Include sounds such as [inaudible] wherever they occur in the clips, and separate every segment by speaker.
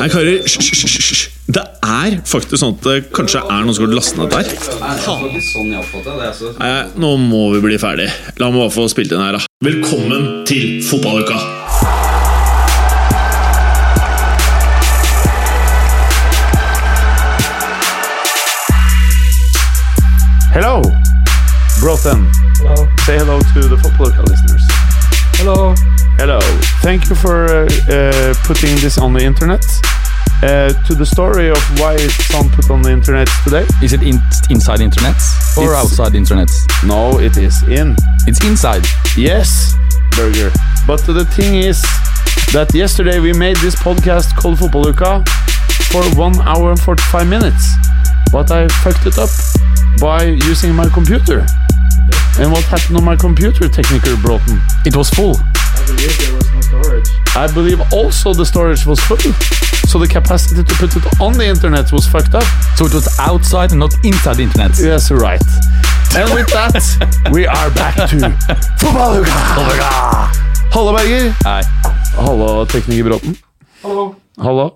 Speaker 1: Nei, karer, hysj, hysj, hysj, hysj. Det er faktisk sånn at det kanskje er noen som går til å laste ned dette her.
Speaker 2: Sånn jeg oppfatter det. Altså.
Speaker 3: Uh,
Speaker 1: Nei, nå må vi bli ferdig. La meg bare få spilt inn her, da. Velkommen til fotballuka!
Speaker 4: Hello, Brothen. Say hello to the football listeners.
Speaker 2: Hello.
Speaker 4: Hello. Thank you for uh, uh, putting this on the internet. Uh, to the story of why it's on put on the internet today.
Speaker 3: Is it in- inside internet or
Speaker 4: It's-
Speaker 3: outside internet?
Speaker 4: No, it is in.
Speaker 3: It's inside.
Speaker 4: Yes, burger. But the thing is that yesterday we made this podcast called Football Luka for one hour and 45 minutes. But I fucked it up by using my computer. And what happened on my computer, Technical Broughton?
Speaker 3: It was full.
Speaker 4: I believe also the storage was full. So the capacity to put it on the internet was fucked up.
Speaker 3: So it was outside and not inside internet.
Speaker 4: Yes, right. And with that, we are back to Fotballuka! Hallo, Berger.
Speaker 3: Nei.
Speaker 4: Hallo, tekniker Bråten. Hallo. Ha det.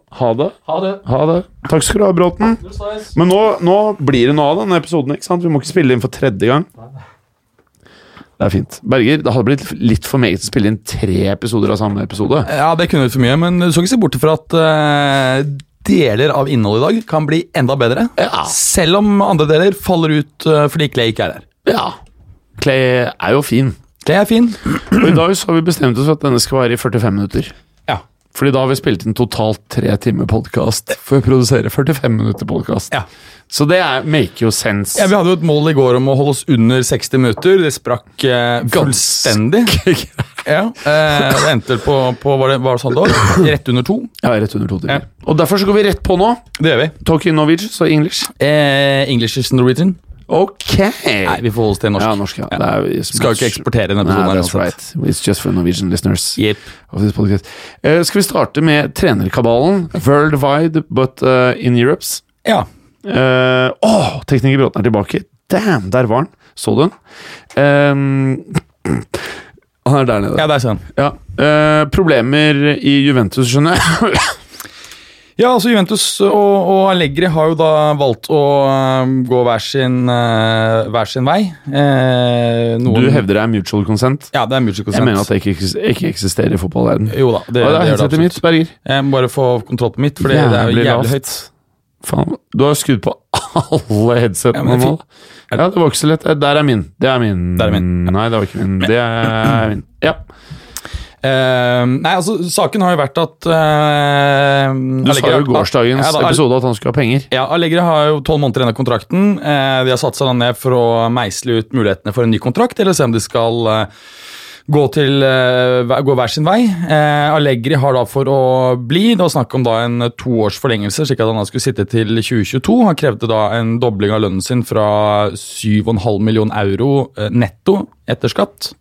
Speaker 3: Ha det.
Speaker 4: Ha det. Takk skal du ha, Bråten. Men nå, nå blir det noe av denne episoden. ikke sant? Vi må ikke spille inn for tredje gang. Det er fint. Berger, det hadde blitt litt for meget å spille inn tre episoder av samme episode.
Speaker 3: Ja, det kunne vært for mye, men du skal ikke se bort fra at eh, deler av innholdet i dag kan bli enda bedre.
Speaker 4: Ja.
Speaker 3: Selv om andre deler faller ut eh, fordi Clay ikke er her.
Speaker 4: Ja. Clay er jo fin.
Speaker 3: Clay er fin.
Speaker 4: Og i dag så har vi bestemt oss for at denne skal vare i 45 minutter.
Speaker 3: Ja.
Speaker 4: Fordi da har vi spilt inn totalt tre timer podkast for å produsere 45 minutter podkast.
Speaker 3: Ja.
Speaker 4: Så det er, make jo sense.
Speaker 3: Ja, Vi hadde jo et mål i går om å holde oss under 60 minutter. Det sprakk eh, fullstendig. Ja, eh, Det endte på, på var det, var det sånn da? rett under to.
Speaker 4: Ja, rett under to timer. Og derfor så går vi rett på nå.
Speaker 3: Det gjør vi.
Speaker 4: Talk in Norwegian, så English.
Speaker 3: Eh, English is Norwegian.
Speaker 4: Ok!
Speaker 3: Nei, vi får holde oss til norsk.
Speaker 4: Ja, norsk, ja. Det er,
Speaker 3: Skal jo ikke eksportere denne
Speaker 4: Nei,
Speaker 3: episoden. her
Speaker 4: that's
Speaker 3: uansett.
Speaker 4: right. It's just for Norwegian listeners.
Speaker 3: Yep.
Speaker 4: of this podcast. Eh, skal vi starte med trenerkabalen? Worldwide, but eh, in Europes.
Speaker 3: Ja.
Speaker 4: Eh, Åh, tekniker Bråten er tilbake. Damn, der var han. Så du den? Eh, [clears throat] han er der nede.
Speaker 3: ja, der ser han.
Speaker 4: Ja. Eh, problemer i Juventus, skjønner jeg.
Speaker 3: Ja, altså Juventus og, og Allegri har jo da valgt å øhm, gå hver sin, øh, hver sin vei. Eh, noen,
Speaker 4: Du hevder det er mutual consent.
Speaker 3: Ja, det er mutual
Speaker 4: Jeg
Speaker 3: consent.
Speaker 4: mener at det ikke, eksis- ikke eksisterer i fotballverden.
Speaker 3: Jo da,
Speaker 4: Hva er
Speaker 3: det, det,
Speaker 4: det
Speaker 3: gjør det
Speaker 4: headsetet mitt,
Speaker 3: absolutt.
Speaker 4: Berger?
Speaker 3: Jeg må bare få kontroll på mitt, for det er jo
Speaker 4: Jævlig
Speaker 3: jævlig
Speaker 4: lavt.
Speaker 3: høyt.
Speaker 4: Faen, du har skudd på alle
Speaker 3: Ja,
Speaker 4: headsetene
Speaker 3: men det er
Speaker 4: nå.
Speaker 3: fint.
Speaker 4: Ja, det var ikke så lett. Eh, Der er min. Det er min.
Speaker 3: Der er min.
Speaker 4: Nei, det var ikke min. Det er min. Ja.
Speaker 3: Eh, nei, altså, saken har jo vært at eh,
Speaker 4: Du sa jo i gårsdagens
Speaker 3: Ja, da,
Speaker 4: episode at han skulle ha penger.
Speaker 3: Ja, Allegri har jo tolv måneder igjen av kontrakten. Eh, De har satt seg da ned for å meisle ut mulighetene for en ny kontrakt, eller se om de skal eh, gå, til, eh, hver- gå hver sin vei. Eh, Allegri har da for å bli. Det var snakk om da en toårs forlengelse, slik at han da skulle sitte til 2022. Han krevde da en dobling av lønnen sin fra 7,5 million euro eh, netto etter skatt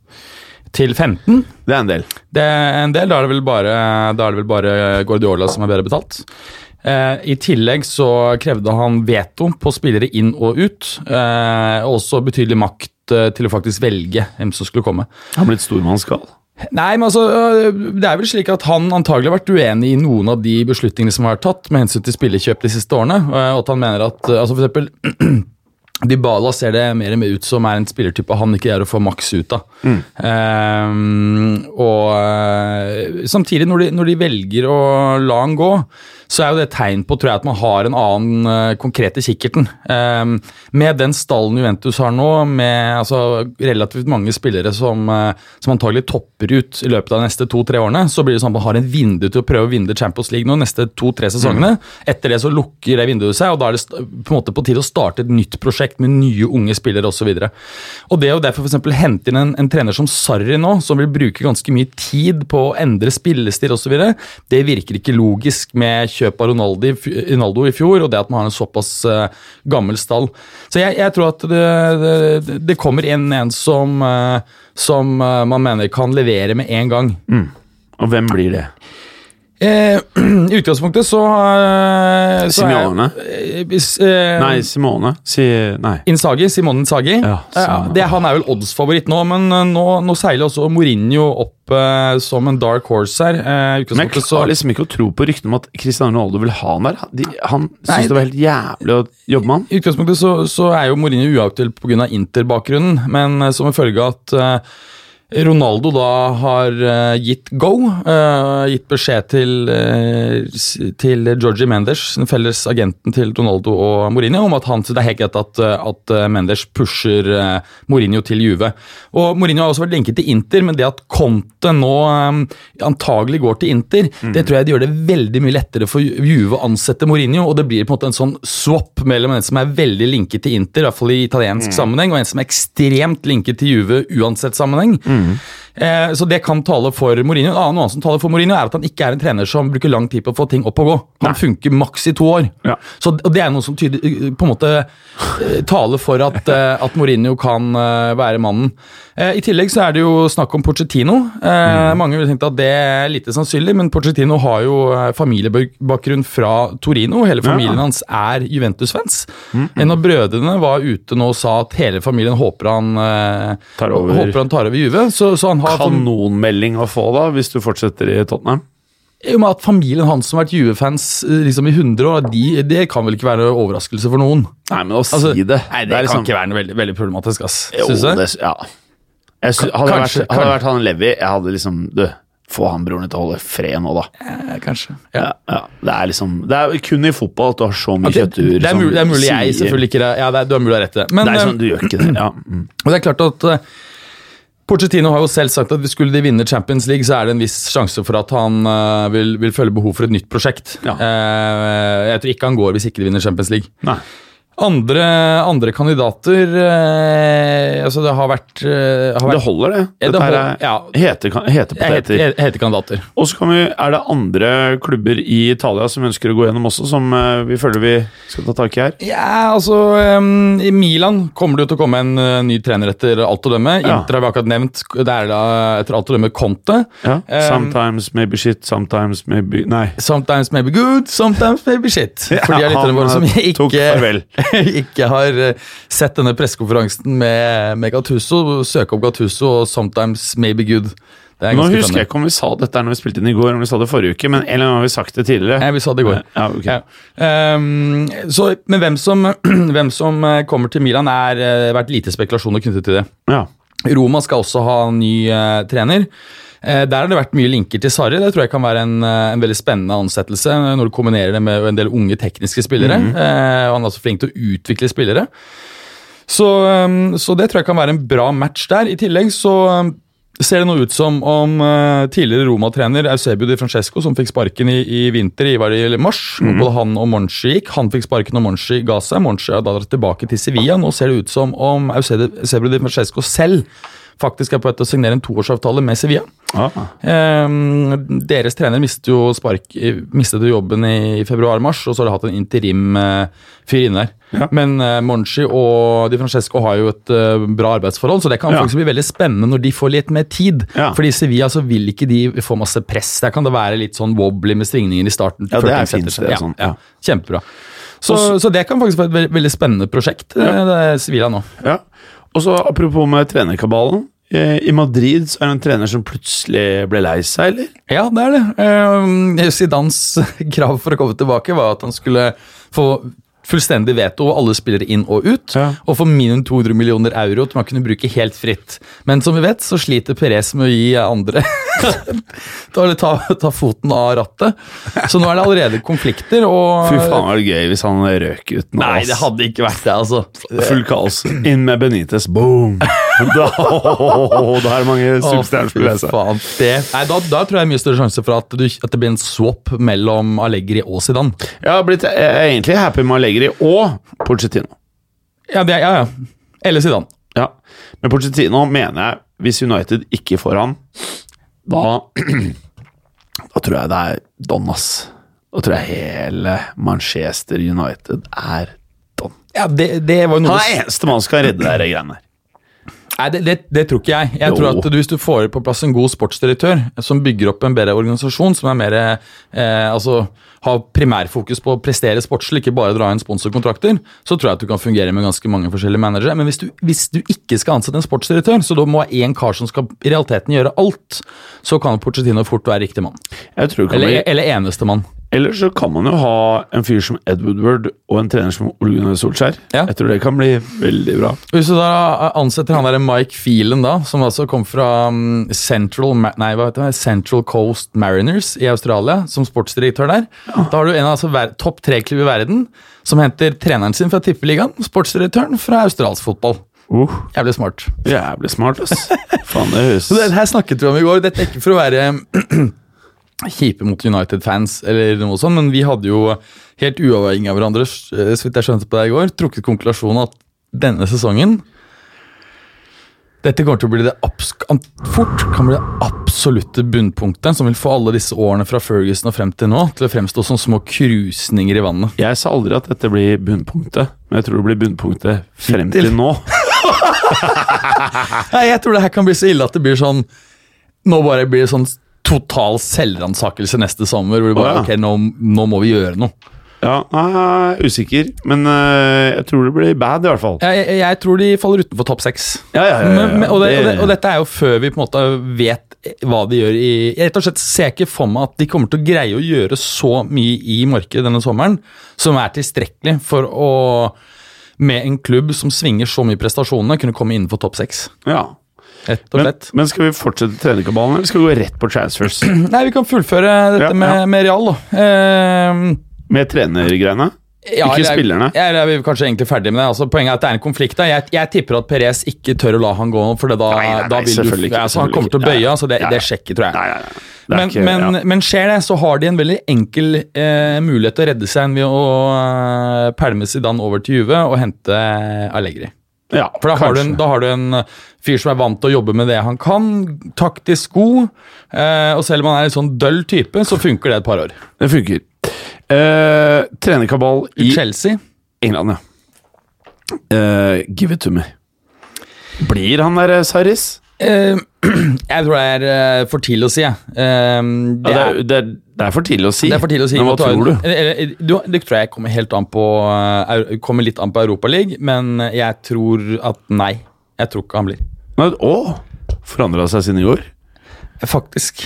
Speaker 3: til 15.
Speaker 4: Det er en del.
Speaker 3: Det er en del, da er det vel bare, da er det vel bare Guardiola som er bedre betalt. Eh, I tillegg så krevde han veto på spillere inn og ut, eh, og også betydelig makt eh, til å faktisk velge hvem som skulle komme.
Speaker 4: Han ble et stormannsgal.
Speaker 3: Nei, men altså, øh, det er vel slik at han antagelig har vært uenig i noen av de beslutningene som har vært tatt med hensyn til spillekjøp de siste årene, øh, og at han mener at øh, altså for eksempel Dybala ser det mer og mer ut som er en spillertype han ikke greier å få maks ut av. Ehm, og øh, samtidig, når de, når de velger å la han gå, så er jo det et tegn på tror jeg, at man har en annen øh, konkret i kikkerten. Ehm, med den stallen Juventus har nå, med altså, relativt mange spillere som, øh, som antagelig topper ut i løpet av de neste to-tre årene, så blir det sånn at man har en vindu til å prøve å vinne Champions League nå, neste to-tre sesongene. Etter det så lukker det vinduet seg, og da er det st- på en måte på tide å starte et nytt prosjekt med nye unge spillere osv. Og det å derfor f.eks. hente inn en, en trener som Sarri nå, som vil bruke ganske mye tid på å endre spillestil osv., det virker ikke logisk med kjøp av Ronaldo, i fj- Ronaldo i fjor, og det at man har en såpass eh, gammel stall. Så jeg, jeg tror at det, det, det kommer inn en som eh, som eh, man mener kan levere med en gang.
Speaker 4: Og hvem blir det?
Speaker 3: Eh, Eh, [clears throat] I utgangspunktet så, eh, så er-
Speaker 4: Simeone?
Speaker 3: Eh, hvis, eh,
Speaker 4: Nei, Simone. Si Nei.
Speaker 3: Inzaghi, Simone Inzaghi.
Speaker 4: Ja,
Speaker 3: Eh,
Speaker 4: Simone.
Speaker 3: det, han er vel oddsfavoritt nå, men eh, nå, nå seiler også Mourinho opp eh, som en dark horse her. Eh, i
Speaker 4: Men jeg
Speaker 3: utgangspunktet så
Speaker 4: klarer liksom ikke å tro på ryktene om at Cristiano Ronaldo vil ha han der. De, han
Speaker 3: Nei,
Speaker 4: syntes det var helt jævlig å jobbe med han.
Speaker 3: I utgangspunktet så, så er jo Mourinho uaktuell pga. Inter-bakgrunnen, men eh, som en følge av at eh, Ronaldo da har eh, gitt go, eh, gitt beskjed til, eh, s- til Georgie Mendes, den felles agenten til Ronaldo og Mourinho, om at han, det er helt greit at, eh, at eh, Mendes pusher eh, Mourinho til Juve. Og Mourinho har også vært linket til Inter, men det at Conte nå eh, antagelig går til Inter, det tror jeg det gjør det veldig mye lettere for Ju- Juve å ansette Mourinho, og det blir på en måte en sånn swap mellom en som er veldig linket til Inter, i hvert fall i italiensk sammenheng, og en som er ekstremt linket til Juve uansett sammenheng. Eh, så det kan tale for Mourinho. En annen, noe annet som taler for Mourinho, er at han ikke er en trener som bruker lang tid på å få ting opp og gå. Han funker maks i to år.
Speaker 4: Ja.
Speaker 3: Så, og det er noe som tyder, på en måte eh, taler for at, eh, at Mourinho kan eh, være mannen. Eh, I tillegg så er det jo snakk om Pochettino.
Speaker 4: Mm.
Speaker 3: Eh, Mange ville tenkt at det er lite sannsynlig, men Pochettino har jo eh, familiebakgrunn fra Torino. Hele familien hans er Juventus-fans.
Speaker 4: Mm,
Speaker 3: En av brødrene var ute nå og sa at hele familien håper han, eh,
Speaker 4: Tar over.
Speaker 3: håper han tar over Juve. Så, så han har sånn-
Speaker 4: Kanonmelding å få da, hvis du fortsetter i Tottenham.
Speaker 3: i og med at familien hans som har vært Juve-fans eh, liksom i 100 år, de, det kan vel ikke være overraskelse for noen?
Speaker 4: Nei, men å
Speaker 3: Altså,
Speaker 4: si det
Speaker 3: Nei,
Speaker 4: er
Speaker 3: det, kan
Speaker 4: liksom-
Speaker 3: ikke være noe veldig, veldig problematisk, ass.
Speaker 4: Jo,
Speaker 3: Syns du?
Speaker 4: det s- ja. Jeg sy- hadde, vært,
Speaker 3: Kanskje,
Speaker 4: hadde
Speaker 3: kanskje.
Speaker 4: vært han Levi, jeg hadde liksom Du, få han broren din til å holde fred nå, da.
Speaker 3: Eh, Kanskje.
Speaker 4: Ja, ja. Det er liksom Det er kun i fotball at du har så mye
Speaker 3: Det,
Speaker 4: kjøttur.
Speaker 3: det, er
Speaker 4: som
Speaker 3: mulig, det er mulig jeg
Speaker 4: sier-
Speaker 3: selvfølgelig ikke er- Ja, det er, du har mulig å ha rett i det. Men
Speaker 4: Det er
Speaker 3: eh,
Speaker 4: sånn, du gjør ikke det. Ja. Mm.
Speaker 3: og det er klart at eh, Pochettino har jo selv sagt at hvis skulle de vinne Champions League, så er det en viss sjanse for at han eh, vil, vil føle behov for et nytt prosjekt.
Speaker 4: Ja.
Speaker 3: Eh, jeg tror ikke han går hvis ikke de vinner Champions League.
Speaker 4: Nei.
Speaker 3: Andre, andre kandidater eh, Altså, det har vært, eh, har vært
Speaker 4: Det holder, det.
Speaker 3: Ja, det
Speaker 4: Dette her
Speaker 3: holder-
Speaker 4: er
Speaker 3: ja.
Speaker 4: hete, kan- hete
Speaker 3: Jeg heter,
Speaker 4: poteter.
Speaker 3: jeg heter kandidater.
Speaker 4: Og så kan vi, er det andre klubber i Italia som ønsker å gå gjennom også, som eh, vi føler vi skal ta tak i her.
Speaker 3: Ja, altså ehm, I Milan kommer det jo til å komme en eh, ny trener etter alt å dømme.
Speaker 4: Ja.
Speaker 3: Inter har vi akkurat nevnt. Det er da etter alt å dømme Conte.
Speaker 4: Ja.
Speaker 3: Eh,
Speaker 4: sometimes maybe shit, sometimes maybe Nei.
Speaker 3: Sometimes maybe good, sometimes maybe shit. For de
Speaker 4: [laughs] Ja,
Speaker 3: av
Speaker 4: han,
Speaker 3: lytterne våre som
Speaker 4: eh, tok
Speaker 3: ikke,
Speaker 4: farvel.
Speaker 3: [laughs] ikke har eh, sett denne pressekonferansen med, med Gattuso, søk opp Gattuso og sometimes maybe good. Det er
Speaker 4: Nå
Speaker 3: ganske
Speaker 4: husker jeg
Speaker 3: spennende.
Speaker 4: ikke om vi sa dette her når vi spilte inn i går, om vi sa det forrige uke, men en eller annen gang har vi sagt det tidligere.
Speaker 3: Nei, vi sa det i går.
Speaker 4: Ja, ok.
Speaker 3: Ja. Ehm, så, men hvem som, [clears throat] hvem som eh, kommer til Milan, er eh, vært lite spekulasjoner knyttet til det.
Speaker 4: Ja.
Speaker 3: Roma skal også ha en ny eh, trener. Eh, der har det vært mye linker til Sarri. Det tror jeg kan være en, eh, en veldig spennende ansettelse eh, når du kombinerer det med en del unge tekniske spillere. eh, og han er også flink til å utvikle spillere. Så, eh, så det tror jeg kan være en bra match der. I tillegg så eh, ser det nå ut som om eh, tidligere Roma-trener Eusebio Di Francesco, som fikk sparken i, i vinter, i var det i mars, hvor både han og Monchi gikk. Han fikk sparken, og Monchi ga seg. Monchi har da dratt tilbake til Sevilla. Nå ser det ut som om Eusebio Eusebio Di Francesco selv faktisk er på vei til å signere en toårsavtale med Sevilla.
Speaker 4: Ah.
Speaker 3: Ehm, deres trener mistet jo, spark, mistet jo jobben i, i februar-mars, og så har de hatt en interim-fyr inne der.
Speaker 4: Ja.
Speaker 3: Men eh, Monchi og Di Francesco har jo et eh, bra arbeidsforhold, så det kan
Speaker 4: Ja.
Speaker 3: faktisk bli veldig spennende når de får litt mer tid.
Speaker 4: Ja.
Speaker 3: Fordi i Sevilla så vil ikke de få masse press. Der kan det være litt sånn wobbly med svingninger i starten.
Speaker 4: Ja,
Speaker 3: før
Speaker 4: det er
Speaker 3: ting setter
Speaker 4: fint,
Speaker 3: seg.
Speaker 4: det er sånn, ja.
Speaker 3: Kjempebra. Så, så det kan faktisk være et veldig, veldig spennende prosjekt, eh, det er Sevilla nå.
Speaker 4: Ja. Og så apropos med trenerkabalen. eh, I Madrid så er det en trener som plutselig ble lei seg, eller?
Speaker 3: Ja, det er det. Eh, Zidans [laughs] krav for å komme tilbake var at han skulle få fullstendig veto alle spillere inn og ut,
Speaker 4: Ja.
Speaker 3: og få minimum 200 millioner euro som han kunne bruke helt fritt. Men som vi vet, så sliter Perez med å gi andre [laughs] ta, ta, ta foten av rattet. Så nå er det allerede konflikter, og
Speaker 4: Fy faen, var det gøy hvis han røk ut nå.
Speaker 3: Ah. Nei,
Speaker 4: ass.
Speaker 3: det hadde ikke vært det, altså.
Speaker 4: Full kaos. Inn med Benitez. Boom! [laughs] Da, da er det mange
Speaker 3: Å,
Speaker 4: superstjerner som
Speaker 3: fy
Speaker 4: blir lei seg.
Speaker 3: faen, det. Nei, da, da tror jeg det er mye større sjanse for at, du, at det blir en swap mellom Allegri og Zidane.
Speaker 4: Jeg har blitt jeg er egentlig happy med Allegri og Pochettino.
Speaker 3: Ja, det, ja, ja. Eller Zidane.
Speaker 4: Ja. Men Pochettino mener jeg, hvis United ikke får han, da [clears throat] Da tror jeg det er don, ass. Da tror jeg hele Manchester United er don.
Speaker 3: Ja, det, det var jo noe
Speaker 4: Han er eneste mann som kan redde de greiene der.
Speaker 3: Nei, det, det, det tror ikke jeg. Jeg
Speaker 4: Jo.
Speaker 3: tror at du, Hvis du får på plass en god sportsdirektør eh, som bygger opp en bedre organisasjon, som er mer, eh, altså, har primærfokus på å prestere sportslig, ikke bare dra inn sponsorkontrakter, så tror jeg at du kan fungere med ganske mange forskjellige managere. Men hvis du, hvis du ikke skal ansette en sportsdirektør, så da må én kar som skal i realiteten gjøre alt, så kan Porcetino fort være riktig mann.
Speaker 4: Jeg tror kan
Speaker 3: Eller,
Speaker 4: bli-
Speaker 3: eller eneste mann.
Speaker 4: Ellers så kan man jo ha en fyr som Ed Woodward og en trener som Ole Gunnar Solskjær.
Speaker 3: Ja.
Speaker 4: Jeg tror det kan bli veldig bra.
Speaker 3: Hvis du da eh, ansetter han der Mike Phelan, da, som altså kom fra mm, Central, Ma- nei, hva heter det? Central Coast Mariners i Australia, som sportsdirektør der, da har du en av altså, ver- topp tre-klubb i verden som henter treneren sin fra Tippeligaen, sportsdirektøren fra australsk fotball.
Speaker 4: Uh,
Speaker 3: Jævlig smart.
Speaker 4: jævlig smart,
Speaker 3: [laughs]
Speaker 4: ass. Faen, det høres
Speaker 3: Så det her snakket vi om i går. Dette er ikke for å være [clears throat] kjipe mot United-fans, eller noe sånt, men vi hadde jo helt uavhengig av hverandre, s- eh, så vidt jeg skjønte på deg i går, trukket konklusjonen at denne sesongen dette kommer til å bli det abs an- fort kan bli det absolutte bunnpunktet som vil få alle disse årene fra Ferguson og frem til nå til å fremstå som små krusninger i vannet.
Speaker 4: Jeg sa aldri at dette blir bunnpunktet, men jeg tror det blir bunnpunktet frem til nå.
Speaker 3: Nei, jeg tror det her kan bli så ille at det blir sånn Nå bare blir det sånn total selvransakelse neste sommer. Hvor det bare,
Speaker 4: Å, ja.
Speaker 3: ok, nå, nå må vi gjøre noe.
Speaker 4: Ja, nei, usikker, men eh, jeg tror det blir bad, i hvert fall.
Speaker 3: Jeg, jeg, jeg tror de faller utenfor topp seks.
Speaker 4: Ja, ja, ja, ja,
Speaker 3: Men- men- Og, det-
Speaker 4: det-
Speaker 3: og, det- og dette er jo før vi på en måte vet hva de gjør i Jeg rett og slett ser ikke for meg at de kommer til å greie å gjøre så mye i markedet denne sommeren som er tilstrekkelig for å med en klubb som svinger så mye i prestasjonene, kunne komme innenfor topp seks.
Speaker 4: Ja.
Speaker 3: Rett og
Speaker 4: Men,
Speaker 3: slett.
Speaker 4: men skal vi fortsette trenerkabalen, eller skal vi gå rett på transfers
Speaker 3: Nei, vi kan fullføre dette
Speaker 4: Ja, ja.
Speaker 3: Med, med Real, da. Ehm,
Speaker 4: med trenergreiene?
Speaker 3: Ja,
Speaker 4: Ikke
Speaker 3: eller er-
Speaker 4: spillerne.
Speaker 3: Ja, eller er vi kanskje egentlig ferdig med det. Altså, poenget er at det er en konflikt. Da. Jeg, jeg tipper at Perez ikke tør å la han gå, for det da,
Speaker 4: Nei, nei, nei,
Speaker 3: da vil du
Speaker 4: selvfølgelig ikke,
Speaker 3: ja, så Han
Speaker 4: selvfølgelig
Speaker 3: kommer til å
Speaker 4: ikke. Ja,
Speaker 3: bøye,
Speaker 4: ja.
Speaker 3: altså det,
Speaker 4: Ja, ja.
Speaker 3: det er sjekket, tror jeg.
Speaker 4: Nei, nei, nei. Det er
Speaker 3: Men,
Speaker 4: ikke-
Speaker 3: men,
Speaker 4: ja.
Speaker 3: men skjer det, så har de en veldig enkel eh, mulighet til å redde seg ved å eh, pælme Zidane over til Juve og hente Allegri.
Speaker 4: ja,
Speaker 3: For da har, du en,
Speaker 4: kanskje.
Speaker 3: da har du en eh, fyr som er vant til å jobbe med det han kan, taktisk god, eh, og selv om han er en sånn døll type, så funker det et par år.
Speaker 4: Det funker. Eh, trenerkabal i
Speaker 3: Chelsea
Speaker 4: England, ja. Eh, give it to me. Blir han der eh, Sarris?
Speaker 3: Eh, [clears throat] jeg tror det er eh, for tidlig å si, jeg. Eh,
Speaker 4: Ja,
Speaker 3: det, er,
Speaker 4: det, er, det er for tidlig å si.
Speaker 3: det er for tidlig å si.
Speaker 4: Men hva
Speaker 3: Vi tar-
Speaker 4: tror du?
Speaker 3: Eller, eller, du? Det tror jeg kommer helt an på eh, eu- Kommer litt an på Europaligaen, men jeg tror at nei. Jeg tror ikke han blir.
Speaker 4: Nei, Å! Forandra seg siden i går?
Speaker 3: Faktisk.